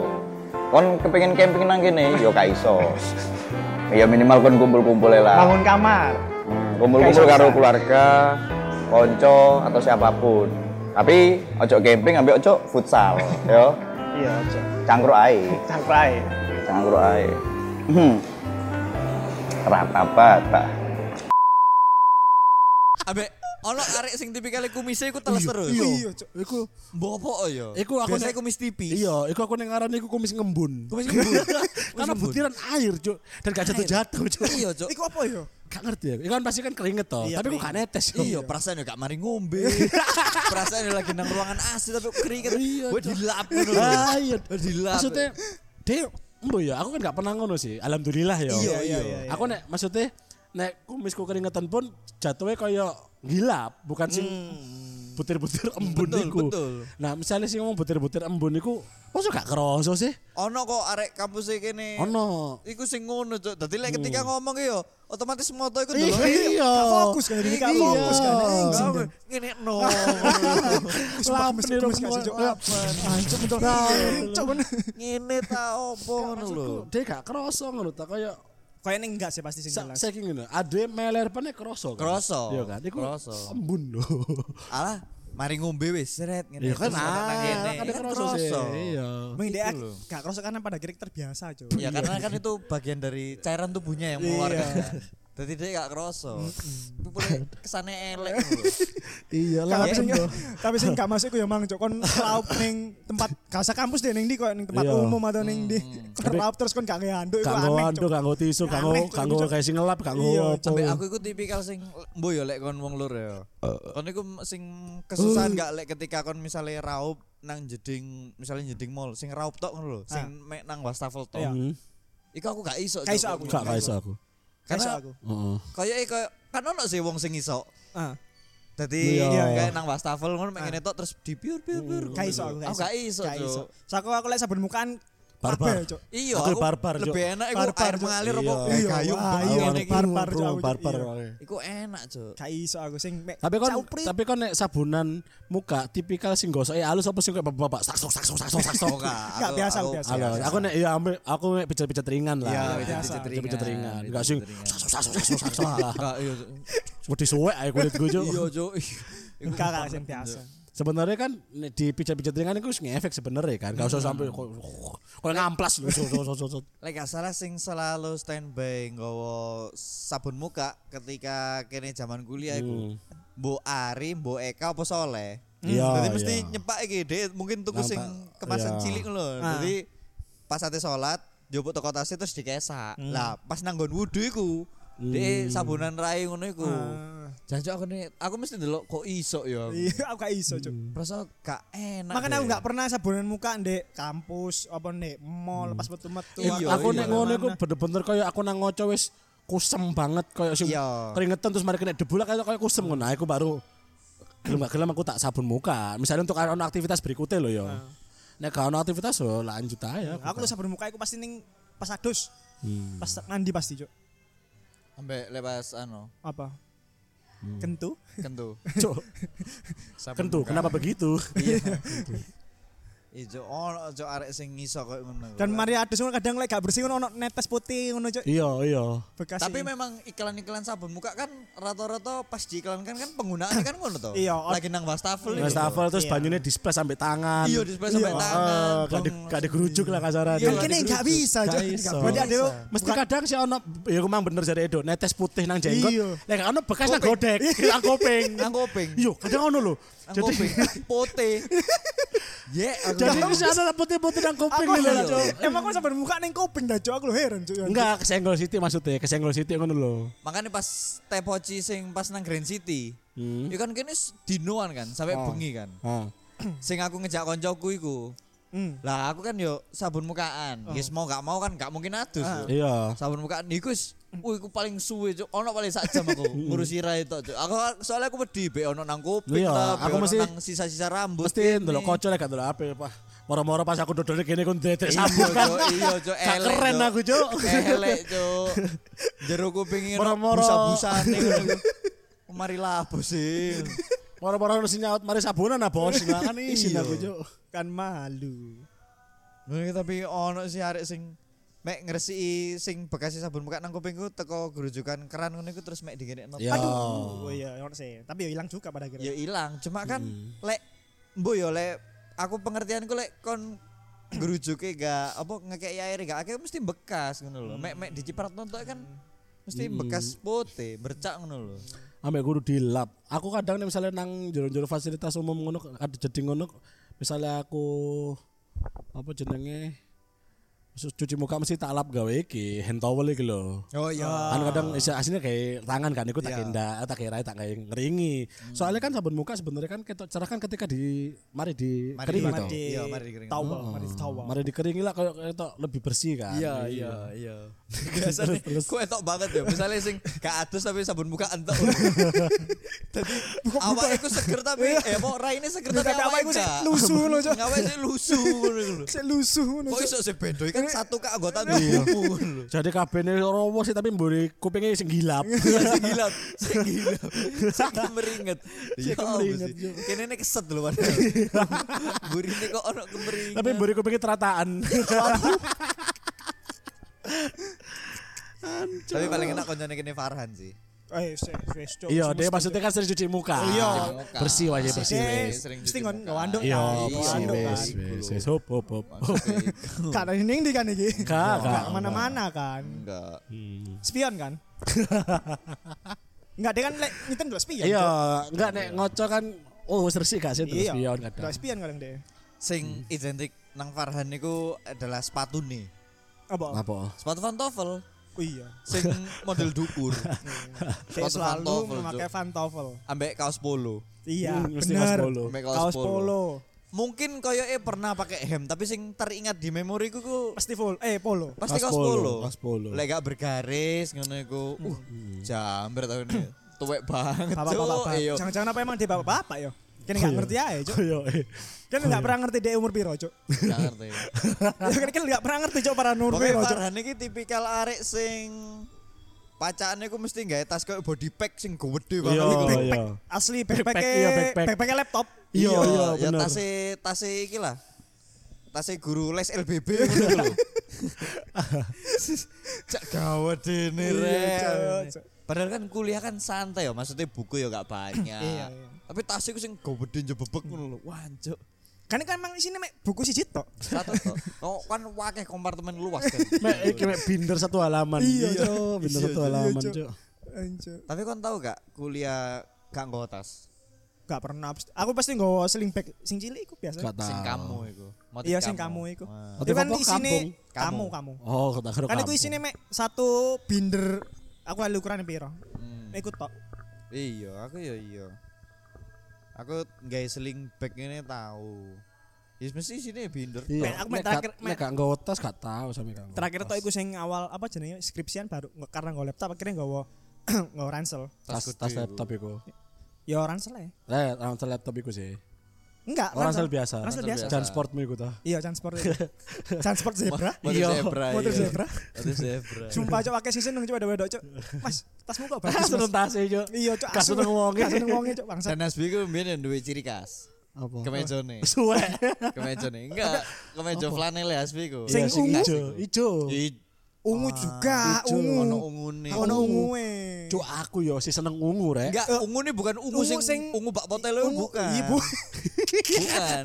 Speaker 4: Kon kepengin camping nang kene ya gak iso. Ya minimal kon kumpul-kumpul ae lah.
Speaker 5: Bangun kamar.
Speaker 4: Hmm, kumpul-kumpul karo keluarga, konco atau siapapun. Tapi ojo camping ambil ojo futsal, yo.
Speaker 5: Iya, cok.
Speaker 4: Cangkruk ae,
Speaker 5: Cangkruk aja.
Speaker 4: cangkruk ae. Hmm. Rata bata.
Speaker 1: Ambek Ono arek sing tipikale kumise iku teles terus.
Speaker 2: Iya, Cuk.
Speaker 3: Iku
Speaker 1: Mbok apa ya?
Speaker 3: Iku aku
Speaker 1: biasanya
Speaker 3: nek-
Speaker 1: kumis tipis.
Speaker 3: Iya, iku aku ning ngarani iku kumis ngembun.
Speaker 1: Kumis ngembun.
Speaker 3: Karena
Speaker 1: ngembun.
Speaker 3: butiran air, Cuk. Dan gak jatuh-jatuh, Cuk.
Speaker 1: Iya, Cuk.
Speaker 2: Iku apa ya?
Speaker 3: Gak ngerti ya. Iku kan pasti kan keringet toh.
Speaker 2: Iya,
Speaker 3: Tapi aku gak netes. Cuk.
Speaker 1: Iya, perasaan ya gak mari ngombe. perasaan ya lagi nang ruangan AC tapi keringet.
Speaker 3: Iya,
Speaker 1: Wah,
Speaker 3: Cuk.
Speaker 1: dilap ngono lho.
Speaker 3: Ah, iya.
Speaker 1: Dilap.
Speaker 3: Maksudnya dia embo ya, aku kan gak pernah ngono sih. Alhamdulillah
Speaker 1: Iya,
Speaker 3: ya.
Speaker 1: iya,
Speaker 2: iya, iya.
Speaker 3: Aku nek maksudnya nek kumisku keringetan pun jatuhnya kaya gilap, bukan sing butir-butir embun
Speaker 1: Hmm. Iya, Betul,
Speaker 3: iku.
Speaker 1: betul.
Speaker 3: Nah, misalnya sing ngomong butir-butir embun iku, masa gak kerasa sih?
Speaker 1: Ono kok arek kampus iki kene.
Speaker 3: Ono. Hmm.
Speaker 1: Iku sing ngono, Cuk. Dadi lek ketika ngomong yo otomatis moto iku
Speaker 3: Iya.
Speaker 1: ndelok.
Speaker 2: Gak fokus kan ini gak
Speaker 3: Iya.
Speaker 2: fokus kan.
Speaker 1: Gak
Speaker 2: Anjing,
Speaker 1: apa,
Speaker 2: Dan.
Speaker 1: Ngene no.
Speaker 2: Wis kumis kumis gak sih, Cuk. Ancuk betul. Cuk bener.
Speaker 1: Ngene ta opo ngono lho.
Speaker 3: Dia gak kerasa ngono ta kaya
Speaker 2: Kayaknya enggak sih pasti sing
Speaker 3: sa-
Speaker 2: jelas.
Speaker 3: saking ngono. Ade meler pene kerasa kan.
Speaker 1: Kerasa.
Speaker 3: Iya kan? Iku
Speaker 1: Kerasa.
Speaker 3: embun lho.
Speaker 1: Alah, mari ngombe wis, seret ngene.
Speaker 3: Iya kan,
Speaker 1: Terus
Speaker 3: ah,
Speaker 1: nang ngene.
Speaker 3: kan ada
Speaker 1: Kan
Speaker 3: kerasa sih. Iya.
Speaker 2: Mungkin dia
Speaker 1: Itu loh.
Speaker 2: gak kerasa karena pada akhirnya terbiasa, Cuk.
Speaker 1: Ya karena kan itu bagian dari cairan tubuhnya yang mengeluarkan. Jadi dia gak kerasa. Itu boleh kesannya elek. lho.
Speaker 3: Iya lah.
Speaker 2: tapi sing tapi sing gak masuk ya mang cok kon laup ning tempat gak usah kampus deh ning di kok ning tempat
Speaker 3: Iya.
Speaker 2: umum atau ning di
Speaker 1: Hmm.
Speaker 2: kon laup terus kon gak nganduk iku
Speaker 3: Gak
Speaker 2: aneh
Speaker 3: nggo
Speaker 2: Cuk.
Speaker 3: anduk, gak nggo tisu, gak nggo
Speaker 2: Aneh, Cuk,
Speaker 3: gak nggo
Speaker 2: Cuk.
Speaker 3: kayak sing ngelap, gak nggo
Speaker 2: Iya,
Speaker 3: apa.
Speaker 1: Sampai aku iku tipikal sing mbo yo lek kon wong lur ya.
Speaker 2: Uh.
Speaker 1: Kon iku sing kesusahan gak lek ketika kon misalnya raup nang jeding misalnya jeding mall sing raup tok ngono lho, sing mek nang wastafel tok.
Speaker 2: Ah. Iya.
Speaker 1: Iku aku gak iso.
Speaker 2: Gak
Speaker 1: Cok.
Speaker 2: iso aku.
Speaker 3: Gak gak iso aku.
Speaker 2: Karena
Speaker 1: Karena
Speaker 2: aku.
Speaker 3: Heeh.
Speaker 1: koyo e, koyo kan ono sih wong sing iso.
Speaker 2: Ah,
Speaker 1: Dadi
Speaker 3: Iya.
Speaker 1: kayak nang wastafel ngono mek ngene tok terus dipiur piur piur.
Speaker 2: Mm-hmm. gak iso aku.
Speaker 1: Aku Oh, gak iso.
Speaker 2: Gak iso.
Speaker 1: Cok.
Speaker 2: Saku aku lek sabun mukaan
Speaker 3: Barbar.
Speaker 2: kabeh, Cuk.
Speaker 1: Iya,
Speaker 3: Aku
Speaker 1: aku,
Speaker 3: barbar, Cok.
Speaker 1: lebih enak iku
Speaker 2: Barbar,
Speaker 1: air
Speaker 2: Cuk.
Speaker 1: mengalir
Speaker 3: Iya.
Speaker 1: apa
Speaker 3: Iya,
Speaker 1: kayu
Speaker 2: wah,
Speaker 1: mbak.
Speaker 2: iya,
Speaker 1: Ngene
Speaker 2: nek
Speaker 1: iki.
Speaker 2: bar-
Speaker 3: Barbar,
Speaker 2: barbar, Cuk, aku,
Speaker 3: barbar.
Speaker 2: Cuk.
Speaker 3: wae.
Speaker 1: Iku enak, Cuk.
Speaker 2: Gak iso aku sing mek.
Speaker 3: Tapi kon
Speaker 2: cauprit.
Speaker 3: tapi kon nek sabunan muka tipikal sing gosoke halus apa sing kayak bapak-bapak saksok saksok saksok saksok.
Speaker 1: Oka,
Speaker 2: Gak,
Speaker 1: aku-
Speaker 2: biasa,
Speaker 1: aku-
Speaker 2: biasa.
Speaker 3: Halo, aku nek ya ambil aku nek pijat-pijat ringan lah.
Speaker 1: Iya,
Speaker 2: pijat-pijat
Speaker 3: pijat-pijat pijat ringan.
Speaker 1: ringan.
Speaker 3: Enggak sing
Speaker 1: Pijat ringan.
Speaker 3: saksok saksok saksok saksok lah.
Speaker 1: Gak, iya, Cuk.
Speaker 3: Wedi suwek ae kulit gue Cuk.
Speaker 1: Iya, Cuk. Ih, iku
Speaker 2: Gak gak
Speaker 1: parah,
Speaker 2: sing
Speaker 1: Cuk.
Speaker 2: biasa.
Speaker 3: Sebenarnya kan nek di pijat-pijat ringan itu wis ngefek sebenarnya kan. Gak
Speaker 1: Hmm.
Speaker 3: usah sampai kok ngamplas lho. so- so- so- so- so.
Speaker 1: Lek gak salah sing selalu standby nggawa sabun muka ketika kene zaman kuliah iku. Mbok Ari, Mbok Eka apa Soleh?
Speaker 2: Hmm.
Speaker 3: Iya,
Speaker 1: Jadi
Speaker 3: iya.
Speaker 1: mesti nyepak iki Dek. mungkin tuku sing
Speaker 3: Nampak,
Speaker 1: kemasan
Speaker 3: iya.
Speaker 1: cilik lho.
Speaker 2: Ah.
Speaker 1: Jadi pas ate salat, njupuk teko tasnya terus dikesak.
Speaker 2: Hmm.
Speaker 1: Lah, pas nang nggon wudu iku, Dek sabunan rai ngono iku. Jancuk aku nih, aku mesti ndelok kok iso ya. aku.
Speaker 2: Ah. Iya, aku gak iso, Cuk.
Speaker 1: Rasa gak enak.
Speaker 2: Makanya aku
Speaker 1: Dek.
Speaker 2: gak pernah sabunan muka ndek kampus apa ndek mall pas metu-metu.
Speaker 1: Iya,
Speaker 3: aku
Speaker 1: iya.
Speaker 3: nek ngono iku bener-bener kaya aku nang ngoco wis kusem banget kaya sing
Speaker 1: Iya.
Speaker 3: keringetan terus mari kena debu lah kaya kaya kusem ngono nah, aku baru gelem gak gelem aku tak sabun muka misalnya untuk ono aktivitas berikutnya lho ya nek gak ono aktivitas yo lanjut aja
Speaker 2: Nah, Aku lu sabun muka aku pasti ning pas adus.
Speaker 3: Hmm.
Speaker 2: Pas mandi pasti, Cuk.
Speaker 1: Ambek lepas anu,
Speaker 2: Apa?
Speaker 3: Hmm.
Speaker 2: Kentu?
Speaker 1: kentu.
Speaker 3: Cuk,
Speaker 1: Sabun
Speaker 3: kentu
Speaker 1: muka. Iya.
Speaker 3: kenapa begitu
Speaker 1: Ijo ono ijo Oh, arek sing iso koyo ngono.
Speaker 2: Dan mari adus ngono kadang lek gak bersih ngono ono netes putih ngono cuk.
Speaker 3: iya iya
Speaker 2: Bekas.
Speaker 1: tapi
Speaker 2: ini.
Speaker 1: memang iklan-iklan sabun muka kan rata-rata pas diiklankan kan penggunaannya kan ngono to.
Speaker 2: Iya.
Speaker 1: Lagi nang wastafel.
Speaker 3: Mas
Speaker 1: itu.
Speaker 3: Tafel terus
Speaker 2: Iya.
Speaker 3: banyune display sampai tangan
Speaker 1: Iya di sebelah sampai
Speaker 3: Heeh,
Speaker 1: tangan.
Speaker 3: gak di-
Speaker 1: bong.
Speaker 3: gak digerujuk lah
Speaker 1: iya,
Speaker 3: kasarannya
Speaker 2: kan kene gak bisa
Speaker 3: Gak
Speaker 2: cuk.
Speaker 3: iso.
Speaker 2: Berarti ada
Speaker 3: Mesti kadang sih ono ya memang bener jare Edo netes putih nang jenggot.
Speaker 2: Iya.
Speaker 3: Lek gak ono bekas nang godek, nang kuping.
Speaker 1: Nang kuping.
Speaker 3: Yo, kadang ono lho.
Speaker 1: Nang
Speaker 3: Jadi
Speaker 1: kuping pote. Ye, aku
Speaker 3: jadi
Speaker 1: tahu.
Speaker 3: wis ono putih-putih nang kuping
Speaker 2: Aku
Speaker 3: lho,
Speaker 2: heran
Speaker 3: Cuk.
Speaker 2: cuk. Emang aku sabun muka ning kuping dah cuk. Aku lu heran cuk. ya.
Speaker 3: Enggak, kesenggol siti maksudnya, kesenggol siti ngono lho.
Speaker 1: Makanya pas Tepoci sing pas nang Grand City. Itu kan kene s- dinoan kan sampai bengi kan.
Speaker 3: Heeh.
Speaker 1: Sing aku ngejak koncoku iku.
Speaker 2: Hmm.
Speaker 1: Lah aku kan yo sabun mukaan. Yes mau gak mau kan gak mungkin adus. yo.
Speaker 3: Iya.
Speaker 1: sabun muka niku wis Wih, aku paling suwe cuk. Ono paling sak jam aku ngurusi rai tok cuk. Aku soalnya aku wedi be ono nang kuping
Speaker 3: Iya,
Speaker 1: ta, be
Speaker 3: aku
Speaker 1: ono
Speaker 3: mesti-
Speaker 1: nang sisa-sisa rambut.
Speaker 3: Mesti ndelok kocok lek gak ndelok apa Pak. Moro-moro pas aku dodol kene kon detek
Speaker 1: Iya,
Speaker 3: sabun kan.
Speaker 1: Cuk, iya cuk
Speaker 3: Gak
Speaker 1: elek.
Speaker 3: keren
Speaker 1: Cuk.
Speaker 3: aku, Cuk.
Speaker 1: Elek cuk. Jero kuping ini
Speaker 3: Moro-moro.
Speaker 1: busa-busane ngono. Kemari lapo sih.
Speaker 3: Moro-moro sing nyaut mari sabunan ah, Bos. Lah kan isin
Speaker 1: Iya.
Speaker 3: aku, Cuk.
Speaker 2: Kan malu.
Speaker 1: Nih, tapi ono sih arek sing mek ngresiki sing bekas sabun muka nang kupingku teko gerujukan keran ngono iku terus mek digenekno.
Speaker 3: Iya.
Speaker 2: Aduh. Oh iya, ono sih. Tapi ya hilang juga pada
Speaker 1: ya
Speaker 2: akhirnya.
Speaker 1: hilang cuma kan lek mbo yo lek aku pengertianku lek kon gerujuke gak apa ngekeki air gak akeh mesti bekas ngono lho mek mek diciprat nonton kan mesti bekas putih bercak ngono lho
Speaker 3: ambek guru dilap. Aku kadang nih misalnya nang jero-jero fasilitas umum ngono ada jadi ngono misalnya aku apa jenenge su- cuci muka mesti tak lap gawe iki hand towel iki lho.
Speaker 1: Oh iya.
Speaker 3: Kan kadang isi aslinya kayak tangan kan iku tak kenda, tak kira tak kayak ngeringi.
Speaker 1: Hmm.
Speaker 3: Soalnya kan sabun muka sebenarnya kan ketok cerah kan ketika di mari di
Speaker 1: Mari
Speaker 3: kering
Speaker 1: dimandi.
Speaker 3: toh.
Speaker 2: Di
Speaker 1: Iya, mari dikering.
Speaker 2: towel,
Speaker 3: Oh.
Speaker 2: mari di towel.
Speaker 3: Mari dikeringi lah kayak ketok lebih bersih kan.
Speaker 1: iya, iya. Biasanya ku etok banget ya. Misalnya sing gak adus tapi sabun muka entek. Dadi awake ku seger tapi eh mau raine seger tapi
Speaker 2: Tapi awake ku
Speaker 1: awake ku
Speaker 2: sih lusuh lho, Cok.
Speaker 1: Awake sih lusuh ngono iku lho.
Speaker 2: Sik lusuh ngono.
Speaker 1: Kok
Speaker 2: Cuk.
Speaker 1: iso sih bedo kan satu keanggotaan tubuhmu ngono lho.
Speaker 3: Jadi kabehne rowo sih tapi mburi kupingnya sing gilap.
Speaker 1: Iya, Sing gilap, sing gilap, sing meringet.
Speaker 3: Sing
Speaker 1: Iya,
Speaker 3: kemeringet,
Speaker 1: meringet.
Speaker 3: Cuk.
Speaker 1: Kene ini keset lho padahal. Burine kok ono kemeringet.
Speaker 3: tapi mburi kupingnya terataan.
Speaker 1: Tapi paling enak koncone kene Farhan sih.
Speaker 2: Eh, sik, wis, Cuk.
Speaker 3: Iya,
Speaker 2: Wis,
Speaker 3: dia
Speaker 2: mesti,
Speaker 3: maksudnya kan sering cuci muka.
Speaker 2: Iya.
Speaker 3: Bersih wajah
Speaker 2: Cuk.
Speaker 3: bersih
Speaker 2: Sik,
Speaker 3: wes.
Speaker 1: Sering
Speaker 2: Mesti
Speaker 1: cuci
Speaker 2: ngon
Speaker 1: muka.
Speaker 2: ngawanduk
Speaker 3: Iya,
Speaker 2: kan,
Speaker 1: Iya,
Speaker 3: bersih
Speaker 2: ngawanduk
Speaker 3: wes,
Speaker 2: kan.
Speaker 3: wes, wes. Hop hop hop.
Speaker 2: Karena ini yang di kan iki.
Speaker 3: Gak, gak.
Speaker 2: Gak mana-mana kan.
Speaker 1: Enggak.
Speaker 2: Spion kan? Enggak, dia kan lek nyiten dulu spion.
Speaker 3: Iya,
Speaker 2: Cuk.
Speaker 3: enggak nek ngoco kan oh wis bersih gak sih terus
Speaker 2: Iya.
Speaker 3: spion
Speaker 2: Dulu
Speaker 3: kadang.
Speaker 2: spion kadang dia.
Speaker 1: sing identik nang Farhan niku adalah sepatu nih
Speaker 2: Apa?
Speaker 3: Apa?
Speaker 1: sepatu pantofel
Speaker 2: Oh iya.
Speaker 1: sing model dukur
Speaker 2: Dia
Speaker 1: Sepatu
Speaker 2: selalu
Speaker 1: pantofel,
Speaker 2: memakai
Speaker 1: Cuk.
Speaker 2: pantofel.
Speaker 1: ambek kaos polo
Speaker 2: Iya,
Speaker 3: Hmm, mesti kaos
Speaker 2: bener.
Speaker 3: polo.
Speaker 1: ambek
Speaker 2: Kaos polo.
Speaker 1: mungkin koyo pernah pakai hem tapi sing teringat di memori ku, ku
Speaker 2: Pasti full. Eh, polo.
Speaker 1: pasti kaos
Speaker 3: Kaos polo,
Speaker 1: polo
Speaker 3: kaos polo.
Speaker 1: lek gak bergaris ngono iku uh jambret tahun ini tuwek banget
Speaker 2: Bapak-bapak.
Speaker 1: cuk
Speaker 2: bapak.
Speaker 1: iya
Speaker 2: Jangan-jangan apa emang dia bapak-bapak yo. Kan enggak ngerti aja, Cuk.
Speaker 3: Iya, eh.
Speaker 2: Kan enggak pernah ngerti dia umur piro, Cuk.
Speaker 1: gak ngerti
Speaker 2: Ya kan kan enggak pernah ngerti Cuk para umur
Speaker 1: pokoknya
Speaker 2: piro, Cuk.
Speaker 1: Farhan ini tipikal arek sing pacaannya ku mesti nggak tas koyo body pack sing gede banget
Speaker 3: Iya,
Speaker 1: iku.
Speaker 2: Backpack
Speaker 3: iya.
Speaker 2: asli
Speaker 3: iya,
Speaker 2: backpack
Speaker 3: backpack.
Speaker 2: backpack laptop.
Speaker 3: Iya, iya,
Speaker 1: ya
Speaker 3: bener.
Speaker 1: tase tase iki lah. Tase guru les LBB ngono iku lho. Cak gawe dene
Speaker 2: Iya,
Speaker 1: rek.
Speaker 2: Cuk.
Speaker 1: Padahal kan kuliah kan santai ya, maksudnya buku ya gak banyak.
Speaker 2: Iya, iya.
Speaker 1: Tapi tas iku sing gede jebebek ngono lho. Wah, cuk.
Speaker 2: Kan kan emang isine mek buku siji tok.
Speaker 1: Satu kok. Kok kan wakeh kompartemen luas kan.
Speaker 3: Mek iki mek binder satu halaman.
Speaker 2: Iya,
Speaker 3: Cuk, binder
Speaker 2: Iya,
Speaker 3: satu
Speaker 2: Cuk.
Speaker 3: halaman,
Speaker 2: Iya,
Speaker 3: Cuk.
Speaker 2: Anjir.
Speaker 1: Tapi kon tau gak kuliah gak nggo tas?
Speaker 2: Gak pernah. Aku pasti nggawa sling bag sing cilik iku biasa.
Speaker 3: Gak
Speaker 1: Sing
Speaker 3: tahu.
Speaker 1: kamu iku. Motif
Speaker 2: Iya sing kamu iku.
Speaker 1: Wah.
Speaker 3: Motif
Speaker 2: Itu kan
Speaker 3: apa?
Speaker 2: isine
Speaker 3: Kampung.
Speaker 2: kamu kamu.
Speaker 3: Oh, kata karo
Speaker 2: Kan
Speaker 3: kamu.
Speaker 2: iku isine mek satu binder aku lali ukuran piro.
Speaker 1: Hmm.
Speaker 2: Iku tok.
Speaker 1: Iya, aku ya iya. Aku nggak seling bag ini tahu. Ya mesti sini binder.
Speaker 3: Iya.
Speaker 2: Mek, aku mek
Speaker 3: Nek
Speaker 2: terakhir-
Speaker 3: gak- nek gak nggawa tas gak tahu sampe kamu.
Speaker 2: Terakhir tok iku sing awal apa jenenge skripsian baru nge- karena nggawa laptop akhirnya nggawa nggawa ransel.
Speaker 3: tas
Speaker 1: gede
Speaker 3: tas
Speaker 1: iku.
Speaker 3: laptop iku.
Speaker 2: Ya ransel ya.
Speaker 3: Eh, ransel laptop iku sih.
Speaker 2: Enggak,
Speaker 3: Oh, ransel biasa.
Speaker 2: Ransel biasa.
Speaker 3: Dan sportmu iku ta.
Speaker 2: Iya, transport. itu. transport zebra.
Speaker 1: Motor
Speaker 3: Iya,
Speaker 1: zebra.
Speaker 2: motor
Speaker 1: iya.
Speaker 2: zebra.
Speaker 1: Motor zebra.
Speaker 2: Sumpah cok pakai season nang coba wedok cok. Mas, tasmu kok bagus. Mas.
Speaker 3: tasnya, ya, Cuk.
Speaker 2: Iya cok.
Speaker 3: Gak seneng wonge.
Speaker 2: Kasus wonge cok bangsa.
Speaker 1: Dan Nasbi itu mbien duwe ciri khas.
Speaker 3: Apa?
Speaker 1: Kemejone.
Speaker 3: Suwek.
Speaker 1: Kemejone. Enggak, kemejo flanel ya Nasbi ku.
Speaker 2: Sing
Speaker 3: Iya, sing
Speaker 2: ungu.
Speaker 3: ijo, ijo.
Speaker 1: I-
Speaker 2: Ungu juga,
Speaker 3: ijo.
Speaker 2: ungu.
Speaker 1: Ah, Ono ungune.
Speaker 2: Ono ungu e.
Speaker 3: Cuk aku yo sih seneng ungu rek.
Speaker 1: Enggak, ungu ini bukan ungu,
Speaker 2: Ungu
Speaker 1: sing,
Speaker 2: sing-
Speaker 1: ungu bak potel itu bukan.
Speaker 2: Iya, bu.
Speaker 1: bukan.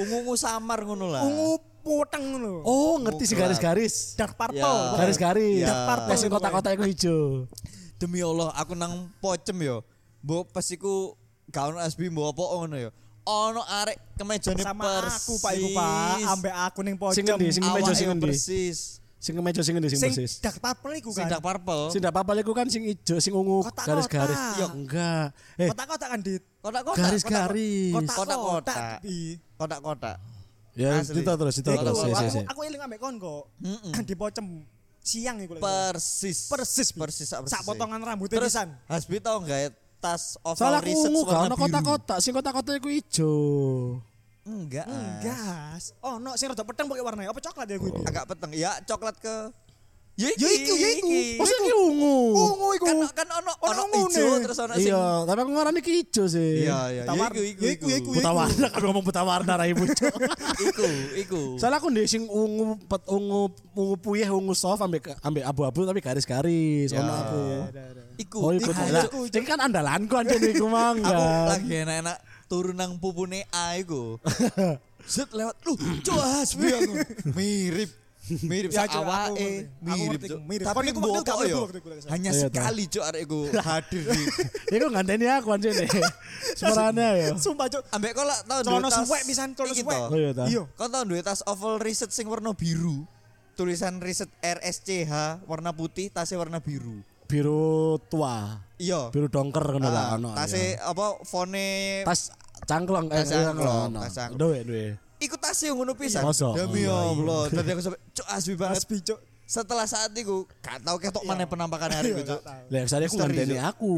Speaker 1: Ungu-ungu samar ngono lah.
Speaker 2: Ungu poteng lho.
Speaker 3: Oh, ngerti sih
Speaker 1: Bukan.
Speaker 3: garis-garis.
Speaker 2: dark purple.
Speaker 1: Ya.
Speaker 2: pokoknya.
Speaker 3: Garis-garis.
Speaker 2: Iya.
Speaker 1: Ya.
Speaker 3: Dark purple. Nah, sing kotak-kotak iku ijo.
Speaker 1: demi Allah aku nang pocem yo mbok pas iku gak ono asbi mbok apa ngono yo ono arek kemejane
Speaker 2: Sama
Speaker 1: persis
Speaker 2: aku Pak Iku Pak, ambek aku ning pojok.
Speaker 3: Sing ngendi, sing kemeja
Speaker 1: Awake
Speaker 3: sing
Speaker 1: yo
Speaker 3: ngendi?
Speaker 1: persis
Speaker 3: Sing kemeja sing ngendi sing
Speaker 2: Sing
Speaker 3: persis.
Speaker 2: dark purple iku
Speaker 1: sing
Speaker 2: kan.
Speaker 1: dark purple
Speaker 3: Sing ndak apa-apa iku kan sing ijo, sing ungu
Speaker 2: Kotak-kotak.
Speaker 3: garis-garis. Yo enggak. Eh,
Speaker 2: Kotak-kotak kan dit.
Speaker 1: kotak-kotak
Speaker 3: garis-garis.
Speaker 1: Kotak-kotak.
Speaker 2: Kotak-kotak. Bi.
Speaker 1: kotak-kotak
Speaker 3: Ya,
Speaker 1: Asli.
Speaker 3: cerita terus, cerita
Speaker 1: Itu,
Speaker 3: terus.
Speaker 2: Aku-
Speaker 3: Sih, sih,
Speaker 2: Aku
Speaker 3: sih.
Speaker 2: aku eling ambek kon kok. Di pocem siang iku lho.
Speaker 1: persis
Speaker 2: persis Bi.
Speaker 1: persis sak
Speaker 2: sak
Speaker 1: persis
Speaker 2: potongan rambut
Speaker 1: terus
Speaker 2: pisan.
Speaker 1: Hasbi tau gak tas oval
Speaker 3: Salah aku
Speaker 1: riset
Speaker 3: ungu gak
Speaker 1: warna
Speaker 3: ono
Speaker 1: biru
Speaker 3: kotak-kotak, sing kotak-kotak iku ijo.
Speaker 1: enggak ah.
Speaker 2: Enggak. Oh, no sing rada peteng pakai warnanya apa coklat ya gue.
Speaker 1: agak peteng ya coklat ke ya
Speaker 2: Ya iku, ya iku.
Speaker 3: Masa iki ungu?
Speaker 2: Ungu iku.
Speaker 1: kan kan ono
Speaker 2: Ono
Speaker 1: ono
Speaker 2: ungu
Speaker 1: hijau
Speaker 2: nih.
Speaker 1: terus ono sing
Speaker 3: Iya, tapi aku ngarani iki ijo sih.
Speaker 1: Iya, iya.
Speaker 2: Tawar.
Speaker 1: Iku, iku,
Speaker 2: Ya iku,
Speaker 1: iku,
Speaker 2: ya iku, ya
Speaker 3: Buta warna kan ngomong buta warna ra ibu.
Speaker 1: iku, iku.
Speaker 3: Soalnya aku ndek sing ungu pet ungu ungu puyeh ungu soft ambek ambek abu-abu tapi garis-garis
Speaker 1: Iya.
Speaker 3: ono aku.
Speaker 1: Iku,
Speaker 3: Oh,
Speaker 1: iku.
Speaker 3: iku lah.
Speaker 1: Aku-
Speaker 3: Ini kan andalanku anjen iku mang.
Speaker 1: iya. Aku
Speaker 3: kan.
Speaker 1: lagi enak-enak turun nang pupune A iku. Set lewat lu, coba hasbi aku. Mirip. mirip
Speaker 2: Ya,
Speaker 1: ya,
Speaker 2: Cuk,
Speaker 1: awake,
Speaker 2: aku ngerti. Aku
Speaker 1: mirip
Speaker 2: ngerti,
Speaker 1: Cuk.
Speaker 2: mirip.
Speaker 1: Tapi
Speaker 2: Kon iku
Speaker 1: mbok
Speaker 2: waktu gak
Speaker 1: kok
Speaker 2: mlebu
Speaker 1: yo.
Speaker 2: waktu iku lek gak salah.
Speaker 1: Hanya
Speaker 3: Iya, toh.
Speaker 1: sekali cuk arek iku hadir di
Speaker 3: Iku nganteni aku anjir nih. Semerane ya.
Speaker 2: Sumpah cuk.
Speaker 1: Ambek kok lak tau
Speaker 2: Celana suwek pisan, celana
Speaker 1: iki
Speaker 2: suwek.
Speaker 1: toh.
Speaker 3: Oh iya ta.
Speaker 2: Iya.
Speaker 1: Kau tau duwe tas oval riset sing warna biru. Tulisan riset RSCH warna putih, tasnya warna biru.
Speaker 3: Biru tua,
Speaker 1: Iya.
Speaker 3: biru dongker ngono lah
Speaker 1: Ah,
Speaker 3: ono. ya. iya.
Speaker 1: Tasnya apa fone
Speaker 3: tas cangklong eh
Speaker 1: Tas
Speaker 3: iya,
Speaker 1: cangklong,
Speaker 3: ono.
Speaker 1: tas cangklong.
Speaker 3: Duwe duwe.
Speaker 1: iku tasnya yang ngono pisan.
Speaker 3: Masa?
Speaker 1: Demi
Speaker 3: Iya, iya.
Speaker 1: Allah. Tadi aku sampe cuk asbi banget.
Speaker 2: Oh, Asbi cuk. Iya.
Speaker 1: Setelah saat itu gak tau ketok mana penampakan hari itu cuk.
Speaker 3: Lah sare aku
Speaker 1: Misteri,
Speaker 3: nganteni
Speaker 1: Cuk.
Speaker 3: aku.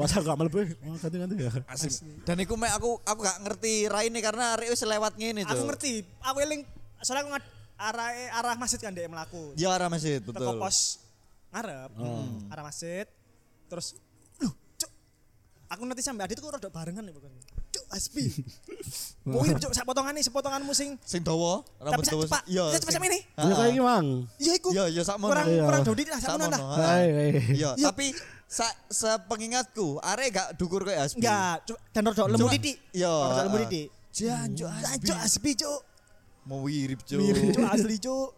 Speaker 3: Masa aku gak mlebu. Oh, ganti-ganti ya.
Speaker 1: Asli. Dan iku mek aku aku gak ngerti raine karena arek wis lewat ngene cuk.
Speaker 2: Aku ngerti. Aku eling soalnya aku ngad arah arah masjid kan dek melaku.
Speaker 1: Ya arah masjid
Speaker 2: Teko
Speaker 1: betul. Hmm.
Speaker 2: pos ngarep, arah masjid. Terus loh, cuk. Aku nanti sampe adit kok rodok barengan ya pokoknya. Cuk, asbi. Kuwi cuk sak potongan nih, sepotonganmu sing
Speaker 1: Sing dawa,
Speaker 2: tapi
Speaker 1: rambut
Speaker 2: sak
Speaker 1: dawa.
Speaker 2: cepat.
Speaker 1: Iya.
Speaker 2: Ya cepat
Speaker 1: sing-
Speaker 2: sampe ini.
Speaker 3: Ya kayak gimang.
Speaker 2: Ya iku.
Speaker 1: Iya, iya, sakmono.
Speaker 2: Kurang
Speaker 3: Iya.
Speaker 2: kurang dodi lah sakmono
Speaker 1: Sakmono,
Speaker 2: lah.
Speaker 1: ha.
Speaker 3: Hai, hai.
Speaker 1: Iya, tapi sa sepengingatku arek gak dukur kayak Asbi.
Speaker 2: Enggak, cuk, dan rodok lemu
Speaker 1: Cuma-
Speaker 2: titik.
Speaker 1: Iya,
Speaker 2: Rodok lemu
Speaker 1: heeh.
Speaker 2: titik.
Speaker 1: Janjuk Asbi.
Speaker 2: Cuk, asbi cuk.
Speaker 1: Mau wirip cuk.
Speaker 2: Mirip cuk asli cuk.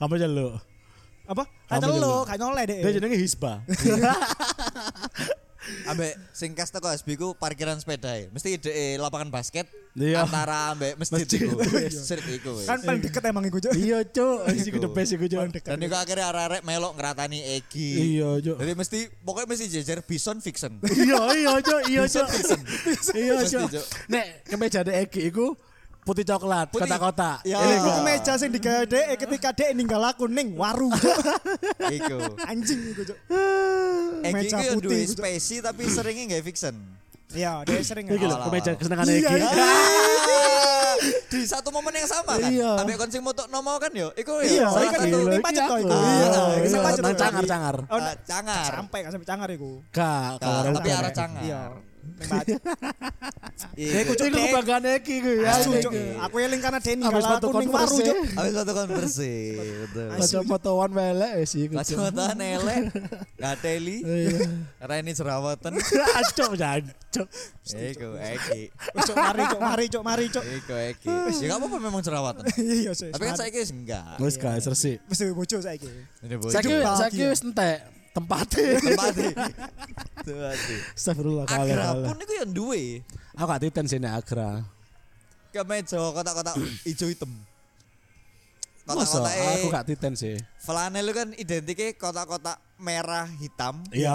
Speaker 3: Kamu jalo.
Speaker 2: Apa? Kayak
Speaker 3: Kamu
Speaker 2: telo,
Speaker 3: dulu.
Speaker 2: kayak nyoleh deh.
Speaker 3: Dia jenenge Hisba.
Speaker 1: Ambek sing kas teko SB ku parkiran sepeda e. Mesti ide lapangan basket
Speaker 3: Iya.
Speaker 1: antara ambek masjid
Speaker 3: Masjid.
Speaker 1: iku. Sirip iku. wis.
Speaker 2: Kan paling deket emang iku cuk.
Speaker 3: Iya, Cuk. Iku the best iku,
Speaker 2: Paling
Speaker 3: Cuk.
Speaker 2: deket.
Speaker 1: Dan iku akhirnya arek-arek melok ngeratani Egi.
Speaker 3: Iya, Cuk.
Speaker 1: Jadi mesti pokoknya mesti jejer bison fiction.
Speaker 3: Iya, iya, Cuk. Iya, Cuk. Iya,
Speaker 1: Bisa,
Speaker 3: Cuk.
Speaker 1: Cuk.
Speaker 3: Nek kemeja dek Egi iku putih coklat,
Speaker 1: Putih.
Speaker 3: kotak-kotak.
Speaker 1: Iya.
Speaker 2: Ini
Speaker 3: Ah.
Speaker 2: iku kemeja sing digawe dek ketika dek ninggal aku ning waru cuk.
Speaker 1: Iku.
Speaker 2: Anjing iku cuk.
Speaker 1: Egi
Speaker 2: Meja
Speaker 1: ku yo
Speaker 2: putih
Speaker 1: duwe
Speaker 2: iku, Cuk.
Speaker 1: spesi tapi seringnya nggak fiction.
Speaker 2: Iya, dek sering.
Speaker 3: Iki lho
Speaker 1: Alah,
Speaker 3: kemeja
Speaker 1: alah.
Speaker 3: kesenengane
Speaker 2: Iya,
Speaker 3: Egi.
Speaker 2: iya.
Speaker 1: Ah, Di satu momen yang sama kan.
Speaker 3: Iya.
Speaker 1: Ambek kon sing motok nomo kan yo. Iku
Speaker 2: Iya,
Speaker 1: yo. salah
Speaker 2: iya, kan
Speaker 1: satu-
Speaker 2: itu
Speaker 3: Iya,
Speaker 2: ning pacet toh iku.
Speaker 1: iya, iya,
Speaker 2: iku
Speaker 1: iya,
Speaker 2: pacet
Speaker 1: nang
Speaker 2: toh.
Speaker 3: cangar, cangar.
Speaker 2: Oh,
Speaker 1: Ah,
Speaker 2: ndak-
Speaker 1: Cangar.
Speaker 2: Sampai gak sampai cangar iku.
Speaker 3: Gak,
Speaker 1: Nah, tapi
Speaker 2: Cangar.
Speaker 1: arah cangar.
Speaker 2: Iya. Ning pacet.
Speaker 1: Iya.
Speaker 3: Nah, Iku Cuk, iku kebanggaan Egi iku ya.
Speaker 2: Asu,
Speaker 3: Egi.
Speaker 2: Cuk. Aku eling karena dek
Speaker 3: Habis
Speaker 2: ninggal aku
Speaker 3: foto
Speaker 2: ning waru
Speaker 3: konversi.
Speaker 2: cuk.
Speaker 1: Habis satu konversi. Betul.
Speaker 3: gitu. Kacamataan melek wis iku. Cuk.
Speaker 1: Kacamataan elek, gateli,
Speaker 3: Iya.
Speaker 1: Reni jerawatan.
Speaker 3: Acok jancok.
Speaker 1: Iku Eki,
Speaker 2: Wes, Cuk, mari cuk, mari cuk, mari cuk.
Speaker 1: iku Eki. Ya gak apa-apa memang jerawatan.
Speaker 2: Iya, Cuk.
Speaker 1: Tapi kan saya wis enggak.
Speaker 3: Wis guys, resik.
Speaker 2: wis duwe bojo saiki.
Speaker 1: Ini bocor.
Speaker 3: Saiki
Speaker 2: bahagia.
Speaker 3: saiki wis entek tempate.
Speaker 1: Tempati. Tuh ati.
Speaker 3: Astagfirullah kalah.
Speaker 1: Agra
Speaker 3: kalah.
Speaker 1: pun iku yang duwe.
Speaker 3: Aku gak titen sini Agra.
Speaker 1: Kemeja kotak-kotak ijo hitam.
Speaker 3: Masa
Speaker 1: Kotak-kotak
Speaker 3: aku gak titen sih.
Speaker 1: flanel kan identiknya kotak-kotak merah hitam.
Speaker 3: Iya.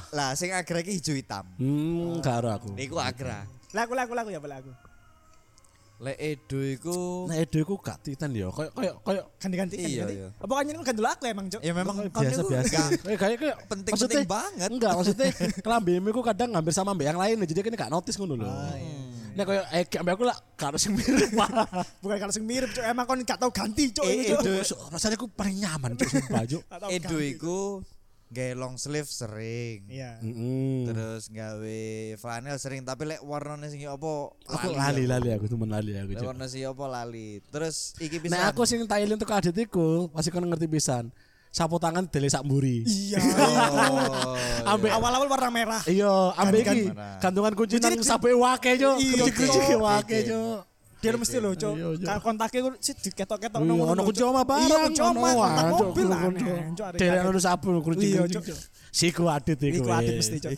Speaker 1: Lah sing agra iki ijo hitam.
Speaker 3: Hmm, karo aku.
Speaker 1: Iku agra.
Speaker 2: Laku laku laku ya laku.
Speaker 1: Lek edo iku
Speaker 3: Nek Edo iku gak titen ya. Kayak kayak kayak
Speaker 2: Ganti-ganti
Speaker 1: Iya,
Speaker 2: ganti-ganti.
Speaker 1: iya.
Speaker 2: Apa kan nyeneng ganti aku emang cuk.
Speaker 1: ya memang kan. kon
Speaker 3: biasa
Speaker 1: iku
Speaker 3: biasa.
Speaker 1: enggak-
Speaker 3: Kayak kayak kayak
Speaker 1: Penting-penting
Speaker 3: maksudnya-
Speaker 1: banget.
Speaker 3: Enggak, maksudnya kelambimu iku kadang hampir sama mbek yang lain jadi kene gak notice ngono lho.
Speaker 1: Ah, iya.
Speaker 3: Nek koyo Eki ambek aku lah karo sing mirip.
Speaker 2: Bukan kalau sing mirip cuk, emang kon gak tau ganti cuk.
Speaker 1: Eh,
Speaker 2: ini, Cuk.
Speaker 1: Edo.
Speaker 3: Rasanya aku paling nyaman cuk sumpah cuk.
Speaker 2: Gak tau
Speaker 1: Edo
Speaker 2: ganti.
Speaker 1: iku nggawe long sleeve sering.
Speaker 2: Iya.
Speaker 3: Heeh.
Speaker 1: Terus nggawe flanel sering tapi lek warnane sing apa
Speaker 3: Aku lali lali aku temen lali
Speaker 1: Lek
Speaker 3: aku cuk.
Speaker 1: warna sing apa lali. Terus iki bisa
Speaker 3: Nek aku sing tak eling teko adit iku pasti kon ngerti pisan. Sapu tangan dele sak mburi.
Speaker 2: Iya.
Speaker 1: Oh.
Speaker 3: Ambek
Speaker 2: Awal-awal warna merah.
Speaker 3: Iya, ambek iki gantungan kunci nang sape wake yo.
Speaker 2: Iya,
Speaker 3: Kunci-kunci
Speaker 2: Cuk.
Speaker 3: wake yo.
Speaker 2: Dia mesti lho, Cuk.
Speaker 3: Iya, Cuk.
Speaker 2: Ka- Kontaknya ku sih diketok-ketok
Speaker 3: Iya,
Speaker 2: nang ngono
Speaker 3: ono
Speaker 2: lho,
Speaker 3: kunci
Speaker 2: Cuk.
Speaker 3: oma barang.
Speaker 2: Iya, kunci oma, kontak mobil lah.
Speaker 3: Dele ono sapu kunci.
Speaker 2: Iya,
Speaker 3: kunci,
Speaker 2: Cuk.
Speaker 3: Cuk. Siku adit iku.
Speaker 2: Iku adit
Speaker 3: weh.
Speaker 2: mesti, Cuk.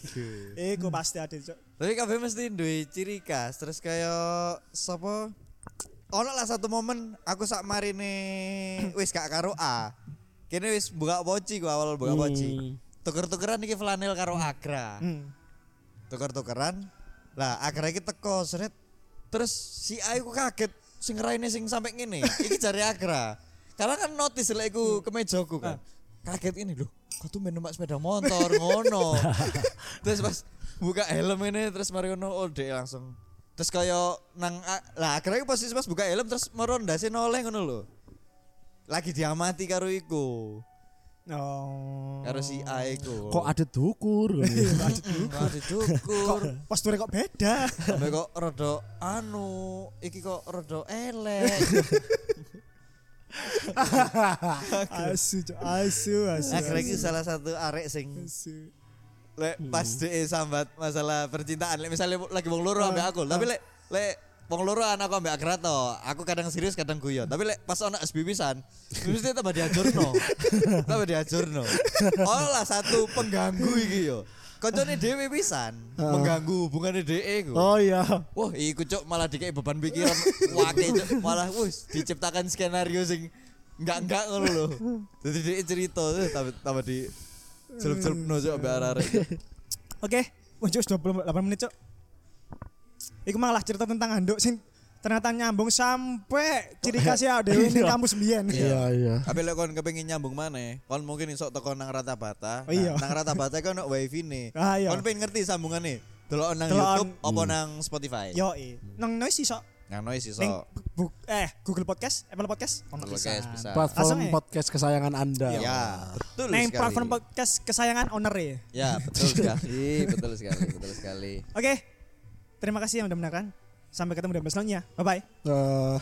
Speaker 2: Iku pasti adit, Cuk.
Speaker 1: Tapi kabeh mesti duwe ciri khas. Terus kaya sapa ono lah satu momen aku sak marine wis gak karo A. Kene wis buka poci gua awal buka
Speaker 3: Hmm.
Speaker 1: poci. Tuker-tukeran iki flanel karo agra. Tuker-tukeran. Lah agra iki teko seret. Terus si A iku kaget sing raine sing sampe ngene. Iki jare agra. Karena kan notice lek
Speaker 3: Hmm.
Speaker 1: iku kemejaku kan.
Speaker 3: Ah.
Speaker 1: Kaget ini loh. Kok tuh main numpak sepeda motor ngono. terus pas buka helm ini terus mari ngono oh dek langsung. Terus kaya nang a- lah agra iku posisi pas buka helm terus merondasi noleh ngono lho. Lagi diamati karo iku.
Speaker 2: Oh.
Speaker 1: Karo si A iku.
Speaker 3: Kok adit dukur. ngono.
Speaker 1: Kok dicukur.
Speaker 2: Posture kok beda.
Speaker 1: Sampai kok rada anu, iki kok rada elek.
Speaker 2: Asu, Cuk. Asu, asu.
Speaker 3: Eh.
Speaker 1: Akhirnya iki salah satu arek sing Hmm.
Speaker 2: asu.
Speaker 1: Hmm. lek pas dhek sambat masalah percintaan. Lek misale lagi wong loro ambek aku, tapi lek lek Wong loro anak aku mbak Krato, aku kadang serius kadang guyon. Tapi lek pas anak SB pisan, mesti tambah diajurno. tambah diajurno. Olah satu pengganggu iki yo. Koncone dhewe pisan, mengganggu hubungane dhewe iku.
Speaker 2: Oh iya.
Speaker 1: Wah, iku cuk malah dikei beban pikiran wake cuk, malah wis diciptakan skenario sing enggak enggak ngono lho. Jadi dia cerita terus tambah tambah di celup-celup no cuk mbak arek.
Speaker 2: Oke, wah cuk 28 menit cuk. Iku malah cerita tentang anduk sing ternyata nyambung sampai ciri khasnya dhewe ning kampus mbiyen.
Speaker 3: Iya iya.
Speaker 1: Tapi lek kon kepengin nyambung mana? Kon mungkin iso teko nang rata bata.
Speaker 2: Oh, iya.
Speaker 1: Nah, nang rata bata kan ono wifi nih.
Speaker 2: Ah, iya.
Speaker 1: Kon pengen ngerti sambungane. Delok nang
Speaker 2: Deloken. Hmm.
Speaker 1: YouTube apa nang Spotify?
Speaker 2: Yo, nang noise iso.
Speaker 1: Nang noise iso.
Speaker 2: Ning bu- eh Google Podcast, Apple Podcast, ono
Speaker 1: Google
Speaker 2: pisan.
Speaker 1: Cast bisa.
Speaker 2: Langsung,
Speaker 3: Platform
Speaker 2: eh.
Speaker 3: podcast kesayangan Anda.
Speaker 1: Ya, betul
Speaker 2: Neng
Speaker 1: sekali.
Speaker 2: platform podcast kesayangan owner ya.
Speaker 1: Ya, betul sekali, betul sekali, betul sekali.
Speaker 2: Oke. Terima kasih yang udah mendengarkan. Sampai ketemu dan berselanjutnya. Bye bye.
Speaker 3: Eh,